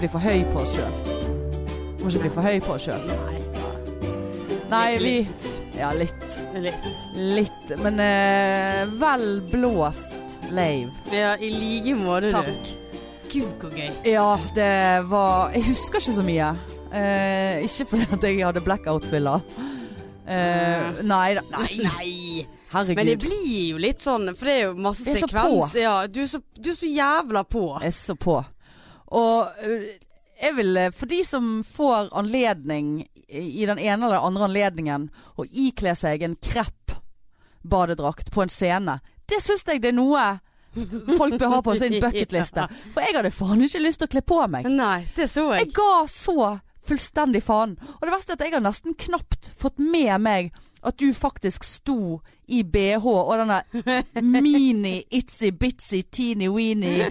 bli for høy på oss sjøl. Må ikke bli for høy på oss sjøl. Nei. Nei, vi Litt. Ja, litt. Litt. Litt. Men eh, vel blåst lave. Ja, i like måte, du. Takk. Gud, hvor gøy. Ja, det var Jeg husker ikke så mye. Eh, ikke fordi at jeg hadde blackout-filler. Eh, nei da. Nei, Nei. herregud. Ah. Men det blir jo litt sånn, for det er jo masse Vi er så sekvens. på. Ja, du, er så, du er så jævla på. Jeg er så på. Og eh, jeg vil, eh, for de som får anledning i i den ene eller den andre anledningen å ikle seg en krepp badedrakt på en scene, det syns jeg det er noe folk bør ha på sin bucketliste. For jeg hadde faen ikke lyst til å kle på meg. Nei, det så jeg. Jeg ga så fullstendig faen. Og det verste er at jeg har nesten knapt fått med meg at du faktisk sto i BH og denne mini itsy bitsy teeny weeny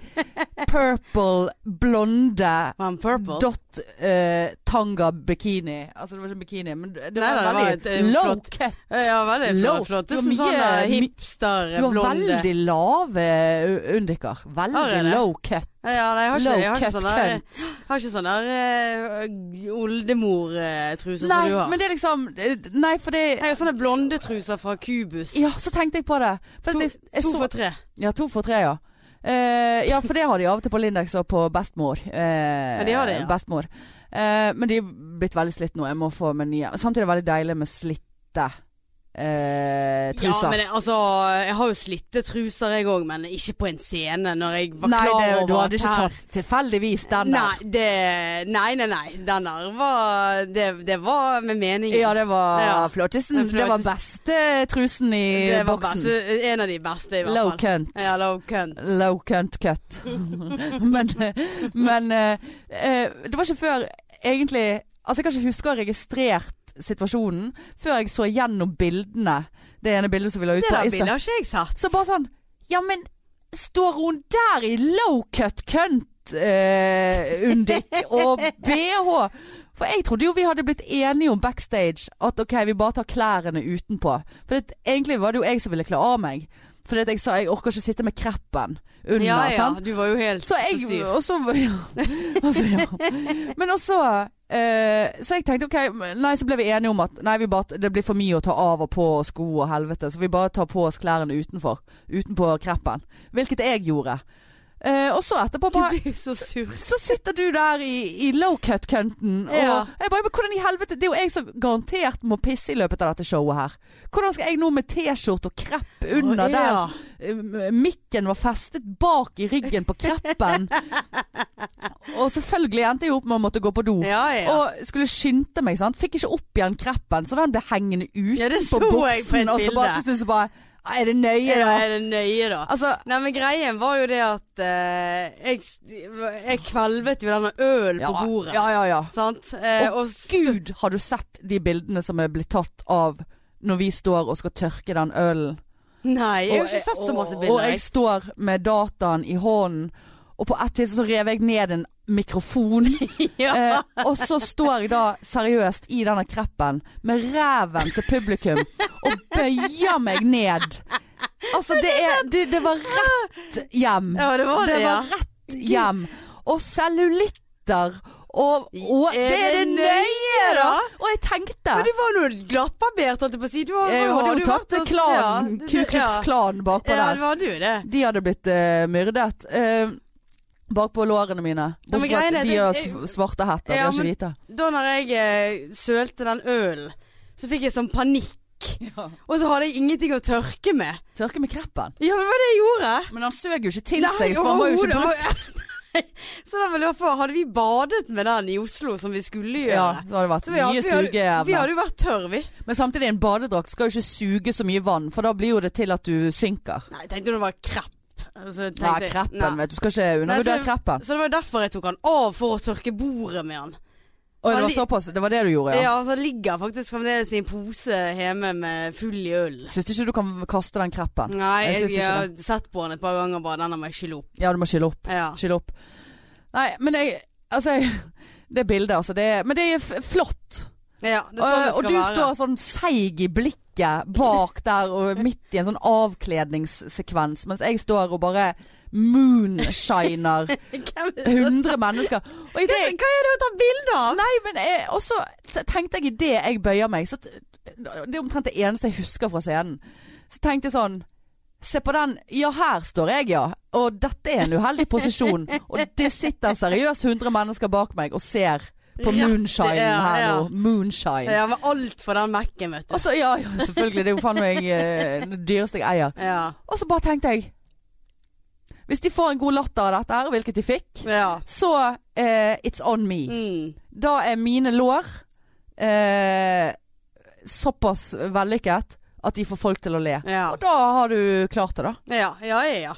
purple blonde Man purple. dot eh, tanga bikini. Altså det var ikke bikini, men det Nei, var nei, det var veldig et, eh, low flott- cut. Ja, veldig Low. flott. flott. Du Det har er sånn mye- sånn eh, my- hipster, Du har blonde. veldig lave eh, undiker. Har jeg Veldig det? low cut. Ja, nei, jeg har ikke, Low jeg har ikke cut sånn der, jeg har ikke sånn der eh, oldemor-truser Sånn som Nei, du har. men det er liksom Nei, for det Jeg har sånne blonde truser fra Kubus. Ja, så tenkte jeg på det. For to, at jeg, jeg to så, for tre. Ja, to for tre, ja. Eh, ja, for det har de av og til på Lindex og på Bestmor. Eh, Ja, de har det, ja. Bestmor. Eh, men de er blitt veldig slitt nå. Jeg må få meg nye. Samtidig er det veldig deilig med slitte eh, Ja, truser. men jeg, altså, jeg har jo slitte truser jeg òg, men ikke på en scene når jeg var Nei, klar det, over du hadde at ikke her- tatt tilfeldigvis den Nei, der. det, nei, nei, nei. Den der var Det, det var med meningen. Ja, det var Ja. flottisen. Men Det var flottisen. beste trusen i det var boksen. beste- en av de beste, i hvert Low fall. cunt. Ja, low cunt. Low cunt cut. men eh, men eh, eh, det var ikke før egentlig Altså jeg kan ikke huske å ha registrert situasjonen før jeg så gjennom bildene. Det ene bildet som vi la ut Det på der bildet Insta. har ikke jeg sett. Så bare sånn Ja, men står hun der i low cut cunt eh, undik og bh? For jeg trodde jo vi hadde blitt enige om backstage at ok, vi bare tar klærne utenpå. For det, egentlig var det jo jeg som ville kle av meg. For jeg sa jeg orker ikke sitte med kreppen under. ja, ja, sant? du var jo helt Så på jeg styr. og så, ja. Og så, ja. Men også eh, Så jeg tenkte ok, nei, så ble vi enige om at nei, vi bare, det blir for mye å ta av og på og sko og helvete, så vi bare tar på oss klærne utenfor. Utenpå kreppen. Hvilket jeg gjorde. Eh, og så etterpå Du bare blir så sur. så sitter du der i, i low cut-cunten og Ja. jeg bare, men hvordan i helvete Det er jo jeg som garantert må pisse i løpet av dette showet her. Hvordan skal jeg nå med T-skjorte og krepp under Å, der ja. Eh, Mikken var festet bak i ryggen på kreppen. og selvfølgelig endte jeg opp med å måtte gå på do. Ja, ja. Og skulle skynde meg, sant. Fikk ikke opp igjen kreppen, så den ble hengende uten Ja, det så på jeg på et buksen. Og så bare bilde. til slutt så bare «Ah, Er det nøye, ja, da? er det nøye, da? Altså, Nei, men greien var jo det at eh, jeg, jeg kvelvet jo denne ølen ja, på bordet. ja, ja, ja. Sant? Eh, og Gud, har du sett de bildene som er blitt tatt av når vi står og skal tørke den ølen? Nei, jeg har Og ikke sett så masse og- bilder. Og jeg står med dataen i hånden, og på ett tidspunkt så rev jeg ned en mikrofon. Ja. eh, og så står jeg da seriøst i denne kreppen med ræven til publikum og bøyer meg ned. Altså, det, er, det, det var rett hjem. Ja, det var det, ja. var rett hjem. Og cellulitter og, og Er Det er det det nøye, nøye, da! da? Og jeg tenkte Men du var nå glattbarbert, holdt jeg på å si. Du har, Jeg har hadde du jo tatt vært hos- klanen, ja, Ku Klux Klan bakpå Ja, ja der. det var du det. De hadde blitt eh, myrdet. Eh, bakpå lårene mine. Ja, men Bortsett fra greien er at de det- har sv- svarte hetter, de Ja, har ikke men- hvite. Da når jeg eh, sølte den ølen, så fikk jeg sånn panikk. Og så hadde jeg ingenting å tørke med. Tørke med kreppen. Ja, men hva var det jeg gjorde? Men han søg jo ikke til Nei, seg, så han var jo ikke overhodet. brukt. Så da vil jeg på, hadde vi badet med den i Oslo som vi skulle gjøre. Ja, det hadde vært Så vi, mye hadde- vi, hadde, vi sugeevne. hadde jo vært tørr, vi. Men samtidig, en badedrakt skal jo ikke suge så mye vann, for da blir jo det til at du synker. Nei, jeg tenkte det var krepp. Altså, Nei, tenkte jeg- kreppen, nei. vet du. Skal ikke Nei, undervurdere kreppen. Så det var jo derfor jeg tok han av for å tørke bordet med han. Å, det han var li- såpass. Det var det du gjorde, Ja, ja. altså det ligger faktisk fremdeles i en pose hjemme med full i øl. Syns ikke du kan kaste den kreppen? Nei, Jeg jeg, syns ikke har sett på han et par ganger bare, den har jeg skylle opp. Ja, du må skylle opp. Ja. Skyld opp. Nei, men jeg Altså, jeg, det bildet, altså. Det, er- men det er f- flott. Ja, det er sånn det Og, skal og du være. står sånn seig i blikket bak der og midt i en sånn avkledningssekvens, mens jeg står og bare moonshiner Hvem er det som- 100 mennesker. Og i det, Hva er det hun tar bilde av? nei, men jeg, og så t- tenkte jeg idet jeg bøyer meg, så t- det er omtrent det eneste jeg husker fra scenen. Så tenkte jeg sånn Se på den. Ja, her står jeg, ja. Og dette er en uheldig posisjon. Og det sitter seriøst 100 mennesker bak meg og ser på Ja, moonshine ja, her ja. nå. Moonshine. Ja, men alt for den Mac-en, vet du. Og så, ja, ja, selvfølgelig. Det er jo faen meg eh, det dyreste jeg eier. Ja. Og så bare tenkte jeg Hvis de får en god latter av dette her, hvilket de fikk, ja. så eh, it's on me. Mm. Da er mine lår eh, såpass vellykket at de får folk til å le. Ja. Og da har du klart det, da. Ja, ja, ja. ja.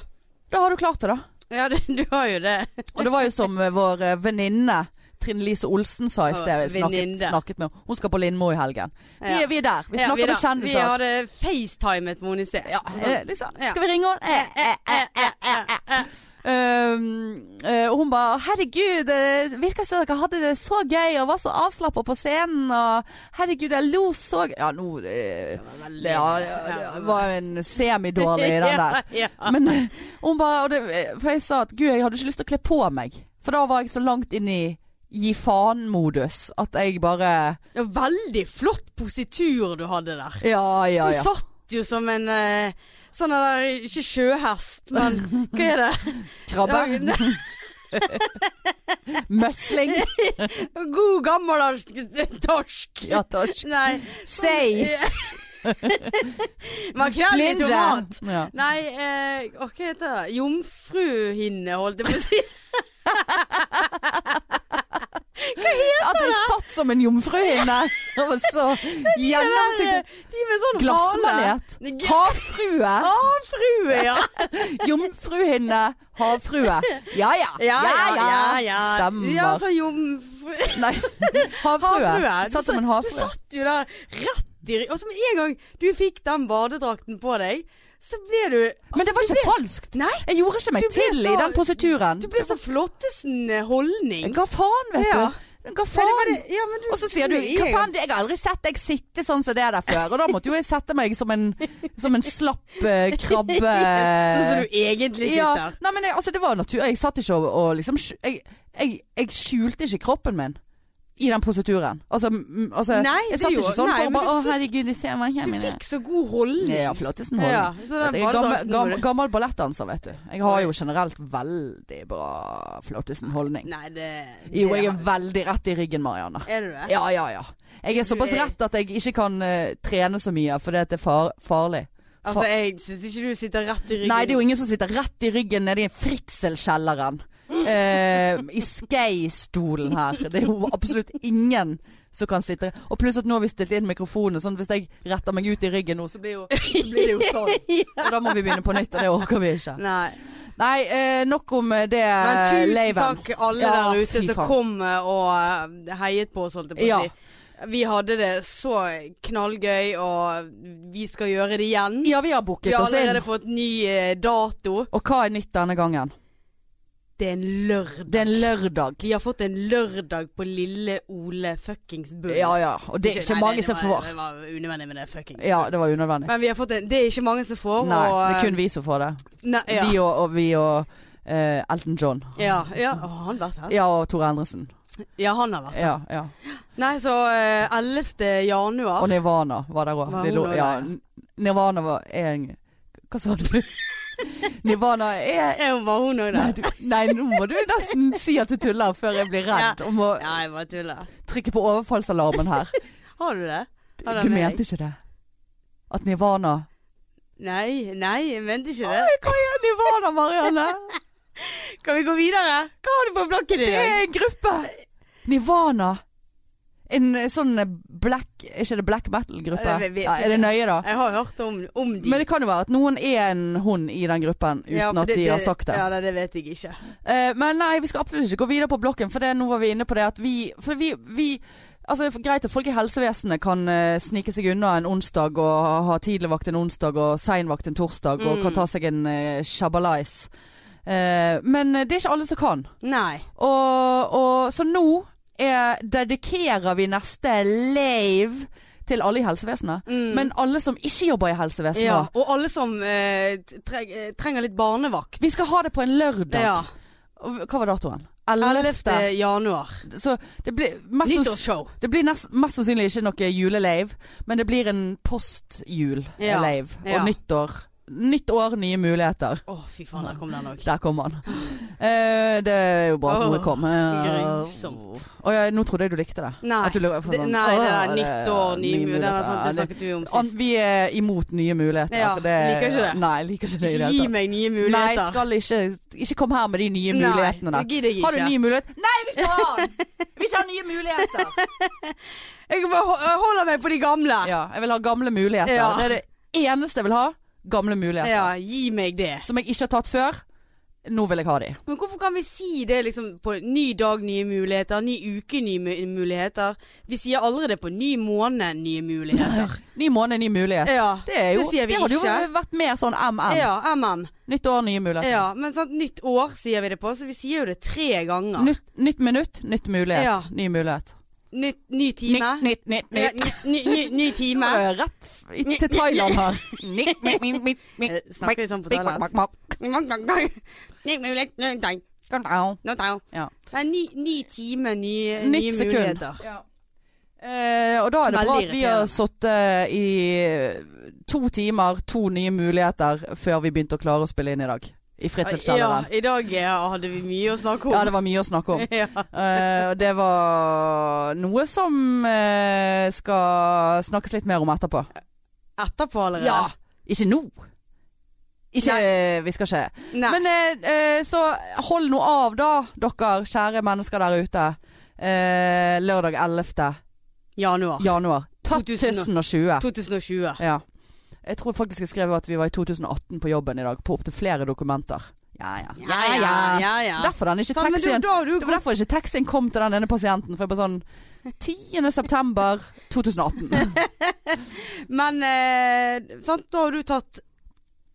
Da har du klart det, da. ja det, du har jo det. Og det var jo som eh, vår eh, venninne Trine Lise Olsen sa i sted. Vi snakket, Venninne. snakket med henne. Hun skal på Lindmo i helgen. Vi, Ja. er- vi er der. Vi Ja, snakker da- med kjendiser. Vi hadde facetimet med henne i sted. Ja, eh, liksom. Ja. Skal vi ringe henne? Eh, eh, eh, eh, eh, eh. Um, eh, og hun bare 'herregud, eh, det virker som dere hadde det så gøy og var så avslappa på scenen'. Og 'herregud, jeg lo så gøy'. Ja, nå eh, Det var veldig- det, ja, det var en semidårlig i den der. Ja, ja. Men eh, hun bare og det, eh, For jeg sa at 'gud, jeg hadde ikke lyst til å kle på meg'. For da var jeg så langt inn i gi faen-modus at jeg bare Det var veldig flott positur du hadde der. Ja, ja, Du ja. satt jo som en eh, sånn der, ikke sjøhest, men hva er det? Krabbe. Møsling. God gammeldansk torsk. Ja, torsk. Nei. Sei. Makrell i tomat. Ja. Nei, eh, hva heter det? Jomfruhinne, holdt jeg på å si. At du satt som en jomfruhinne. Og så gjennomsiktig De med sånn glassmanet. hale. Havfrue. Havfrue, ja. Jomfruhinne. Havfrue. Ja ja. Ja, ja, ja. ja. Stemmer. Ja, så jomfru... Nei. Havfrue. Havfrue. Satt som en Du havfrue. satt jo der rett i ry- Og så med en gang du fikk den badedrakten på deg, så ble du Men det var altså, du ikke ble- falskt. Nei, Jeg gjorde ikke meg Du ble til i så- den posituren. du ble så flottesen eh, holdning. Hva faen, vet Ja. du. Hva Nei, det var faen. det- ja, men Og så sier du Hva faen, du, jeg har aldri sett deg sitte sånn som det der før. Og da måtte jo jeg sette meg som en, som en slapp eh, krabbe. Sånn som du egentlig Ja, sitter. nei, men jeg, altså, det var natur. Jeg satt ikke og, og liksom skj- jeg, jeg, jeg skjulte ikke kroppen min i den posituren. Altså, mm, altså Nei, jeg det satt gjorde- ikke sånn nei, for å men bare du Å, fikk- herregud, de ser meg Du hjemme. fikk så god holdning. Ja, flottesen holder. Ja, så den Vet du, jeg er gammel, badedrakten gammel, var- gammel ballettdanser, vet du. Jeg har jo generelt veldig bra flottesen-holdning. Nei, det, det Jo, jeg er veldig rett i ryggen, Marianne. Er du det? Ja, ja, ja. Jeg er såpass er- rett at jeg ikke kan eh, trene så mye, fordi at det er far, farlig. Altså, jeg syns ikke du sitter rett i ryggen. Nei, det er jo ingen som sitter rett i ryggen nede i fritselkjelleren. Eh, I skeistolen her. Det er jo absolutt ingen som kan sitte Og pluss at nå har vi stilt inn mikrofonen, sånn at hvis jeg retter meg ut i ryggen nå, så blir, jo, så blir det jo sånn. Så da må vi begynne på nytt, og det orker vi ikke. Nei. Nei, eh, nok om eh, det Men tusen laven. takk alle Ja, der ute fy som faen. kom eh, og eh, heiet på oss, holdt jeg på å Ja. si. Vi hadde det så knallgøy, og vi skal gjøre det igjen. Ja, vi har Vi booket har oss inn. allerede fått ny eh, dato. Og hva er nytt denne gangen? Det er en lørdag. Det er en lørdag. Vi har fått en lørdag på lille Ole fuckings Bull. Ja ja, og det er ikke nei, mange det som var- får. Det var unødvendig med det fuckings. Ja, det var unødvendig. Men vi har fått en, det er ikke mange som får. Nei, og, det eh, er kun vi som får det. Nei, ja. Vi og, og, vi og eh, Elton John. ja, ja. Å, han har vært her. Ja, og Tore Endresen. Ja, han har vært Ja, ja. Nei, så eh, 11. januar. Og Nirvana var der Var hun òg. også Ja, der? Nirvana var en Hva sa du? Nirvana er Er hun- var hun òg Nei, der? du, nei, nå må du nesten si at du tuller før jeg blir redd og må Ja, jeg bare tuller. trykke på overfallsalarmen her. Har du det? Har Du med deg? mente ikke det? At Nirvana Nei, nei, jeg mente ikke det. Hva er Nirvana, Marianne? Kan vi gå videre? Hva har du på blokken i Det dag? er en gruppe! Nirvana. En eh, sånn eh, black Er ikke det black metal-gruppe? Jeg vet ikke. Ja, er det nøye, da? Jeg har hørt om, om de. Men det kan jo være at noen er en hund i den gruppen uten Ja, for at de har sagt det. Ja, nei, det vet jeg ikke. Eh, men nei, vi skal absolutt ikke gå videre på blokken, for det, nå var vi inne på det at vi For vi, vi Altså, det er greit at folk i helsevesenet kan eh, snike seg unna en onsdag og ha tidligvakt en onsdag og seinvakt en torsdag og Mm. kan ta seg en uh, shabbalais. Eh, men eh, det er ikke alle som kan. Nei. Og, og, så nå eh, dedikerer vi neste lave til alle i helsevesenet. Mm. Men alle som ikke jobber i helsevesenet. ja. Og alle som eh, treng, eh, trenger litt barnevakt. Vi skal ha det på en lørdag. Ja. Og Hva var datoen? 11. 11. januar. Så det blir mest, sanns- Nyttårsshow. det blir nest, mest sannsynlig ikke noe julelave, men det blir en Ja. postjul-lave. Ja. Og nyttår. Nytt år, nye muligheter. Å, fy faen, der kom den òg. Der kom han. Eh, det er jo bra at ordet Åh, kom. Eh, grusomt. Å ja, nå trodde jeg du likte det. Nei. At du lå- for Det, sånn, nei, det åh, eh, der nytt år, nye nye muligheter. muligheter. sant, Det Ja, det- snakket vi om An, sist. vi er imot nye muligheter. Ja, for det, liker ikke det. Nei, liker ikke det i det Ikke hele gi tatt. meg nye Nei, muligheter. skal ikke, ikke kom her med de nye mulighetene Nei, der. det gidder jeg Har du ikke. nye muligheter? Nei, jeg vil ikke ha den! Jeg vil ikke ha nye muligheter! Jeg bare ho- jeg holder meg på de gamle. Ja, jeg vil ha gamle muligheter. Ja. Det er det eneste jeg vil ha. Gamle muligheter. Ja, gi meg det. Som jeg ikke har tatt før. Nå vil jeg ha de. Men hvorfor kan vi si det liksom på ny dag, nye muligheter, ny uke, nye mu- muligheter? Vi sier aldri det på ny måned, nye muligheter. Ny måned, ny mulighet. Ja, Det, er jo, det sier vi hadde jo ikke. vært mer sånn MM. Ja, MM. Nytt år, nye muligheter. Ja, men sant, nytt år sier vi det på, så vi sier jo det tre ganger. Nytt, nytt minutt, nytt mulighet. Ja. Ny mulighet. Nytt, ny time. Nytt, nytt, nytt. Ja, nytt. ny, ny, ny, ny Nå time. er jeg Rett f- i- til Thailand her. Nytt, nytt, nytt, nytt, nytt. Eh, Snakker vi sånn på Bik, bak, bak, thailandsk? bak. Ny mulighet, ny dag, Kom da. nå dag. Ja. Nei, ny, ny time, nye, nye Nytt sekund. muligheter. Eh, og da er det Veldig bra at vi har irriterende. sittet i to timer, to nye muligheter, før vi begynte å klare å spille inn i dag. I Ja, Fritidskjelleren. i dag eh, hadde vi mye å snakke om. Ja, det var mye å snakke om. Ja. Eh, Og det var noe som eh, skal snakkes litt mer om etterpå. Etterpå allerede? Ja! Ikke nå. Ikke Vi skal ikke Nei. Men eh, eh, så hold nå av, da, dere kjære mennesker der ute. Eh, lørdag 11. Januar januar 2000. 2020. 2020. Ja. Jeg tror faktisk jeg skrev at vi var i 2018 på jobben i dag, på opptil flere dokumenter. Ja ja. ja, ja. Derfor den ikke Sant, men taxien du, da har du Det var derfor ikke taxien kom til den ene pasienten. For jeg bare sånn 10. september 2018. Men eh, sant, da har du tatt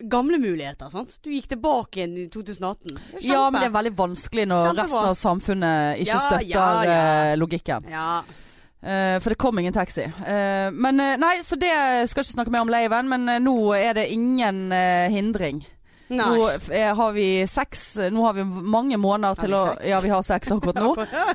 gamle muligheter, sant? Du gikk tilbake igjen i 2018. Kjempe. Ja, men det er veldig vanskelig når Kjempebra. resten av samfunnet ikke Ja, støtter ja, ja. eh, logikken. Ja. Eh, for det kom ingen taxi. Eh, men eh, nei, så det skal jeg ikke snakke mer om laven. Men eh, nå er det ingen eh, hindring. Nei. Nå f- eh, har vi seks eh, Nå har vi mange måneder til å Har vi seks? Ja, vi har seks akkurat nå.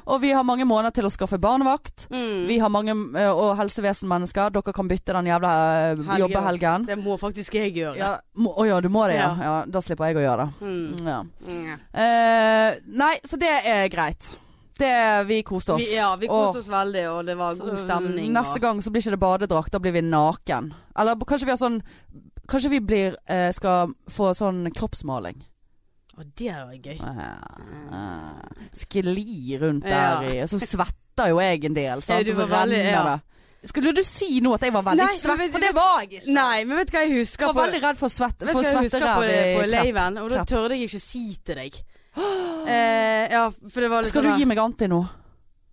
Og vi har mange måneder til å skaffe barnevakt. Mm. Vi har mange eh, Og helsevesenmennesker. Dere kan bytte den jævla eh, Helgen. jobbehelgen. Det må faktisk jeg gjøre. Ja, må, å ja, du må det, ja. Ja. ja. Da slipper jeg å gjøre det. Mm. Ja. Mm. Eh, nei, så det er greit. Det Vi koste oss. Vi, ja, vi koste oss veldig, og det var god stemning. Neste gang så blir ikke det badedrakt, da blir vi naken. Eller b- kanskje vi har sånn Kanskje vi blir, eh, skal få sånn kroppsmaling. Og, Å, det var gøy. Ah, Skli rundt Ja. der i Så svetter jo jeg en del, sant? Ja, du Og så var veldig- renner ja. det. Skulle du si nå at jeg var veldig Nei, men svett? vet For du- det var jeg ikke. Nei, men vet du hva jeg Jeg husker var på? veldig redd for svett Vet du for hva jeg husker på, svetteræv på i krepp. laven? Og da Krepp. tørde jeg ikke å si til deg. Eh, ja, for det var litt Skal du sånn gi meg anti nå?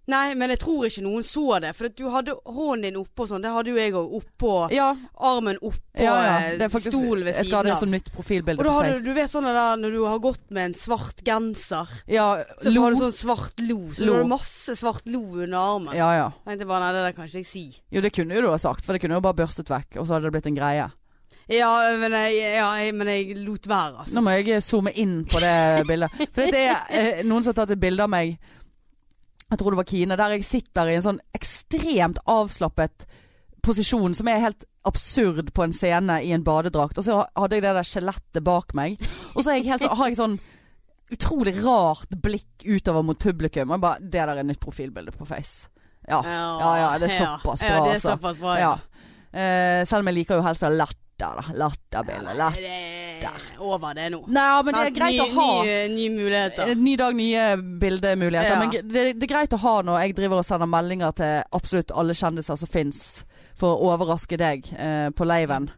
Nei, men jeg tror ikke noen så det. For at du hadde hånden din oppå sånn. Det hadde jo jeg òg. Oppå Ja, armen oppå ja, ja. eh, Det er faktisk, stolen ved jeg skal ha siden det av. som nytt profilbilde Og da på hadde du, Face. du vet sånn det der når du har gått med en svart genser, Ja, så lo. har du sånn svart lo. Så Lo. det var masse svart lo under armen. Ja, ja. Jeg tenkte bare nei, det der kan ikke jeg si. Jo, det kunne jo du ha sagt, for det kunne jo bare børstet vekk, og så hadde det blitt en greie. Ja, men jeg, ja, jeg, men jeg lot være, altså. Nå må jeg zoome inn på det bildet. For det er eh, noen som har tatt et bilde av meg, jeg tror det var Kine, der jeg sitter i en sånn ekstremt avslappet posisjon som er helt absurd på en scene i en badedrakt. Og så hadde jeg det der skjelettet bak meg. Og så er jeg helt, så- har jeg sånn utrolig rart blikk utover mot publikum. Og jeg bare, det der er nytt profilbilde på Face. Ja. Ja, ja, det er såpass ja, bra, det er altså. såpass bra, ja. Eh, selv om jeg liker jo helst å ha latter, da. Latterbilde. Nei, Latter. det er over det nå. Nei, men det er greit å ny, ha. Nye, nye muligheter. Eh, Ny dag, nye bildemuligheter. Ja. Men gre- det, det er greit å ha når jeg driver og sender meldinger til absolutt alle kjendiser som fins, for å overraske deg eh, på laven.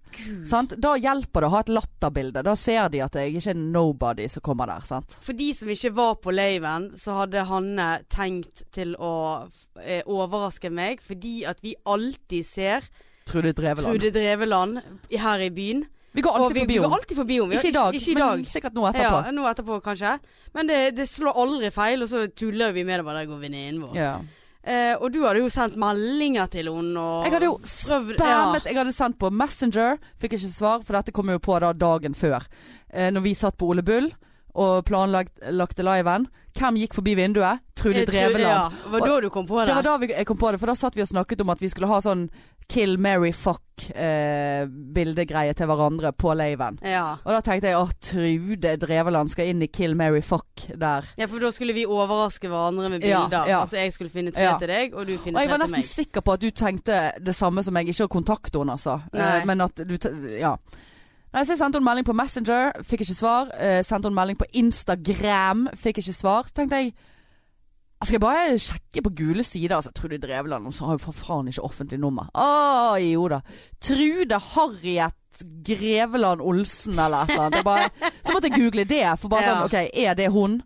Sant? Da hjelper det å ha et latterbilde. Da ser de at jeg ikke er nobody som kommer der. Sant? For de som ikke var på laven, så hadde Hanne tenkt til å eh, overraske meg, fordi at vi alltid ser Trude Dreveland. Trude Dreveland her i byen. Vi går Og alltid vi, forbi vi går henne. alltid forbi henne. Vi har Ikke i dag, Ikke i dag. men sikkert nå etterpå. Ja, nå etterpå kanskje. Men det, det slår aldri feil, og så tuller vi med det bare. Der går venninnen vår. Ja. Eh, og du hadde jo sendt meldinger til henne og Jeg hadde jo prøvd- spammet. Jeg hadde sendt på Messenger, fikk ikke svar, for dette kom jo på da dagen før. Eh, når vi satt på Ole Bull og planlagte liven. Hvem gikk forbi vinduet? Trude Jeg tror- Dreveland. Ja, det var da du kom på det. Det var da vi, jeg kom på det, for da satt vi og snakket om at vi skulle ha sånn kill, marry, fuck-bildegreie til hverandre på laven. ja. Og da tenkte jeg at Trude Dreveland skal inn i kill, marry, fuck der. ja, for da skulle vi overraske hverandre med Ja, bilder. ja. Altså jeg skulle finne tre Ja. til deg, og du Og finner jeg tre var til nesten meg. sikker på at du tenkte det samme som meg. Ikke å kontakte henne, altså. Nei. Eh, Men at du te- Ja. Nei, så jeg sendte henne melding på Messenger, fikk ikke svar. Eh, sendte henne melding på Instagram, fikk ikke svar. Så tenkte jeg "Altså, skal jeg bare sjekke på gule sider? Altså, Trude Drevland hun har jo for faen ikke offentlig nummer. Å, jo da. Trude Harriet Greveland Olsen eller et eller annet. Jeg bare, så måtte jeg google det. For bare Ja. sånn, ok, er det hun?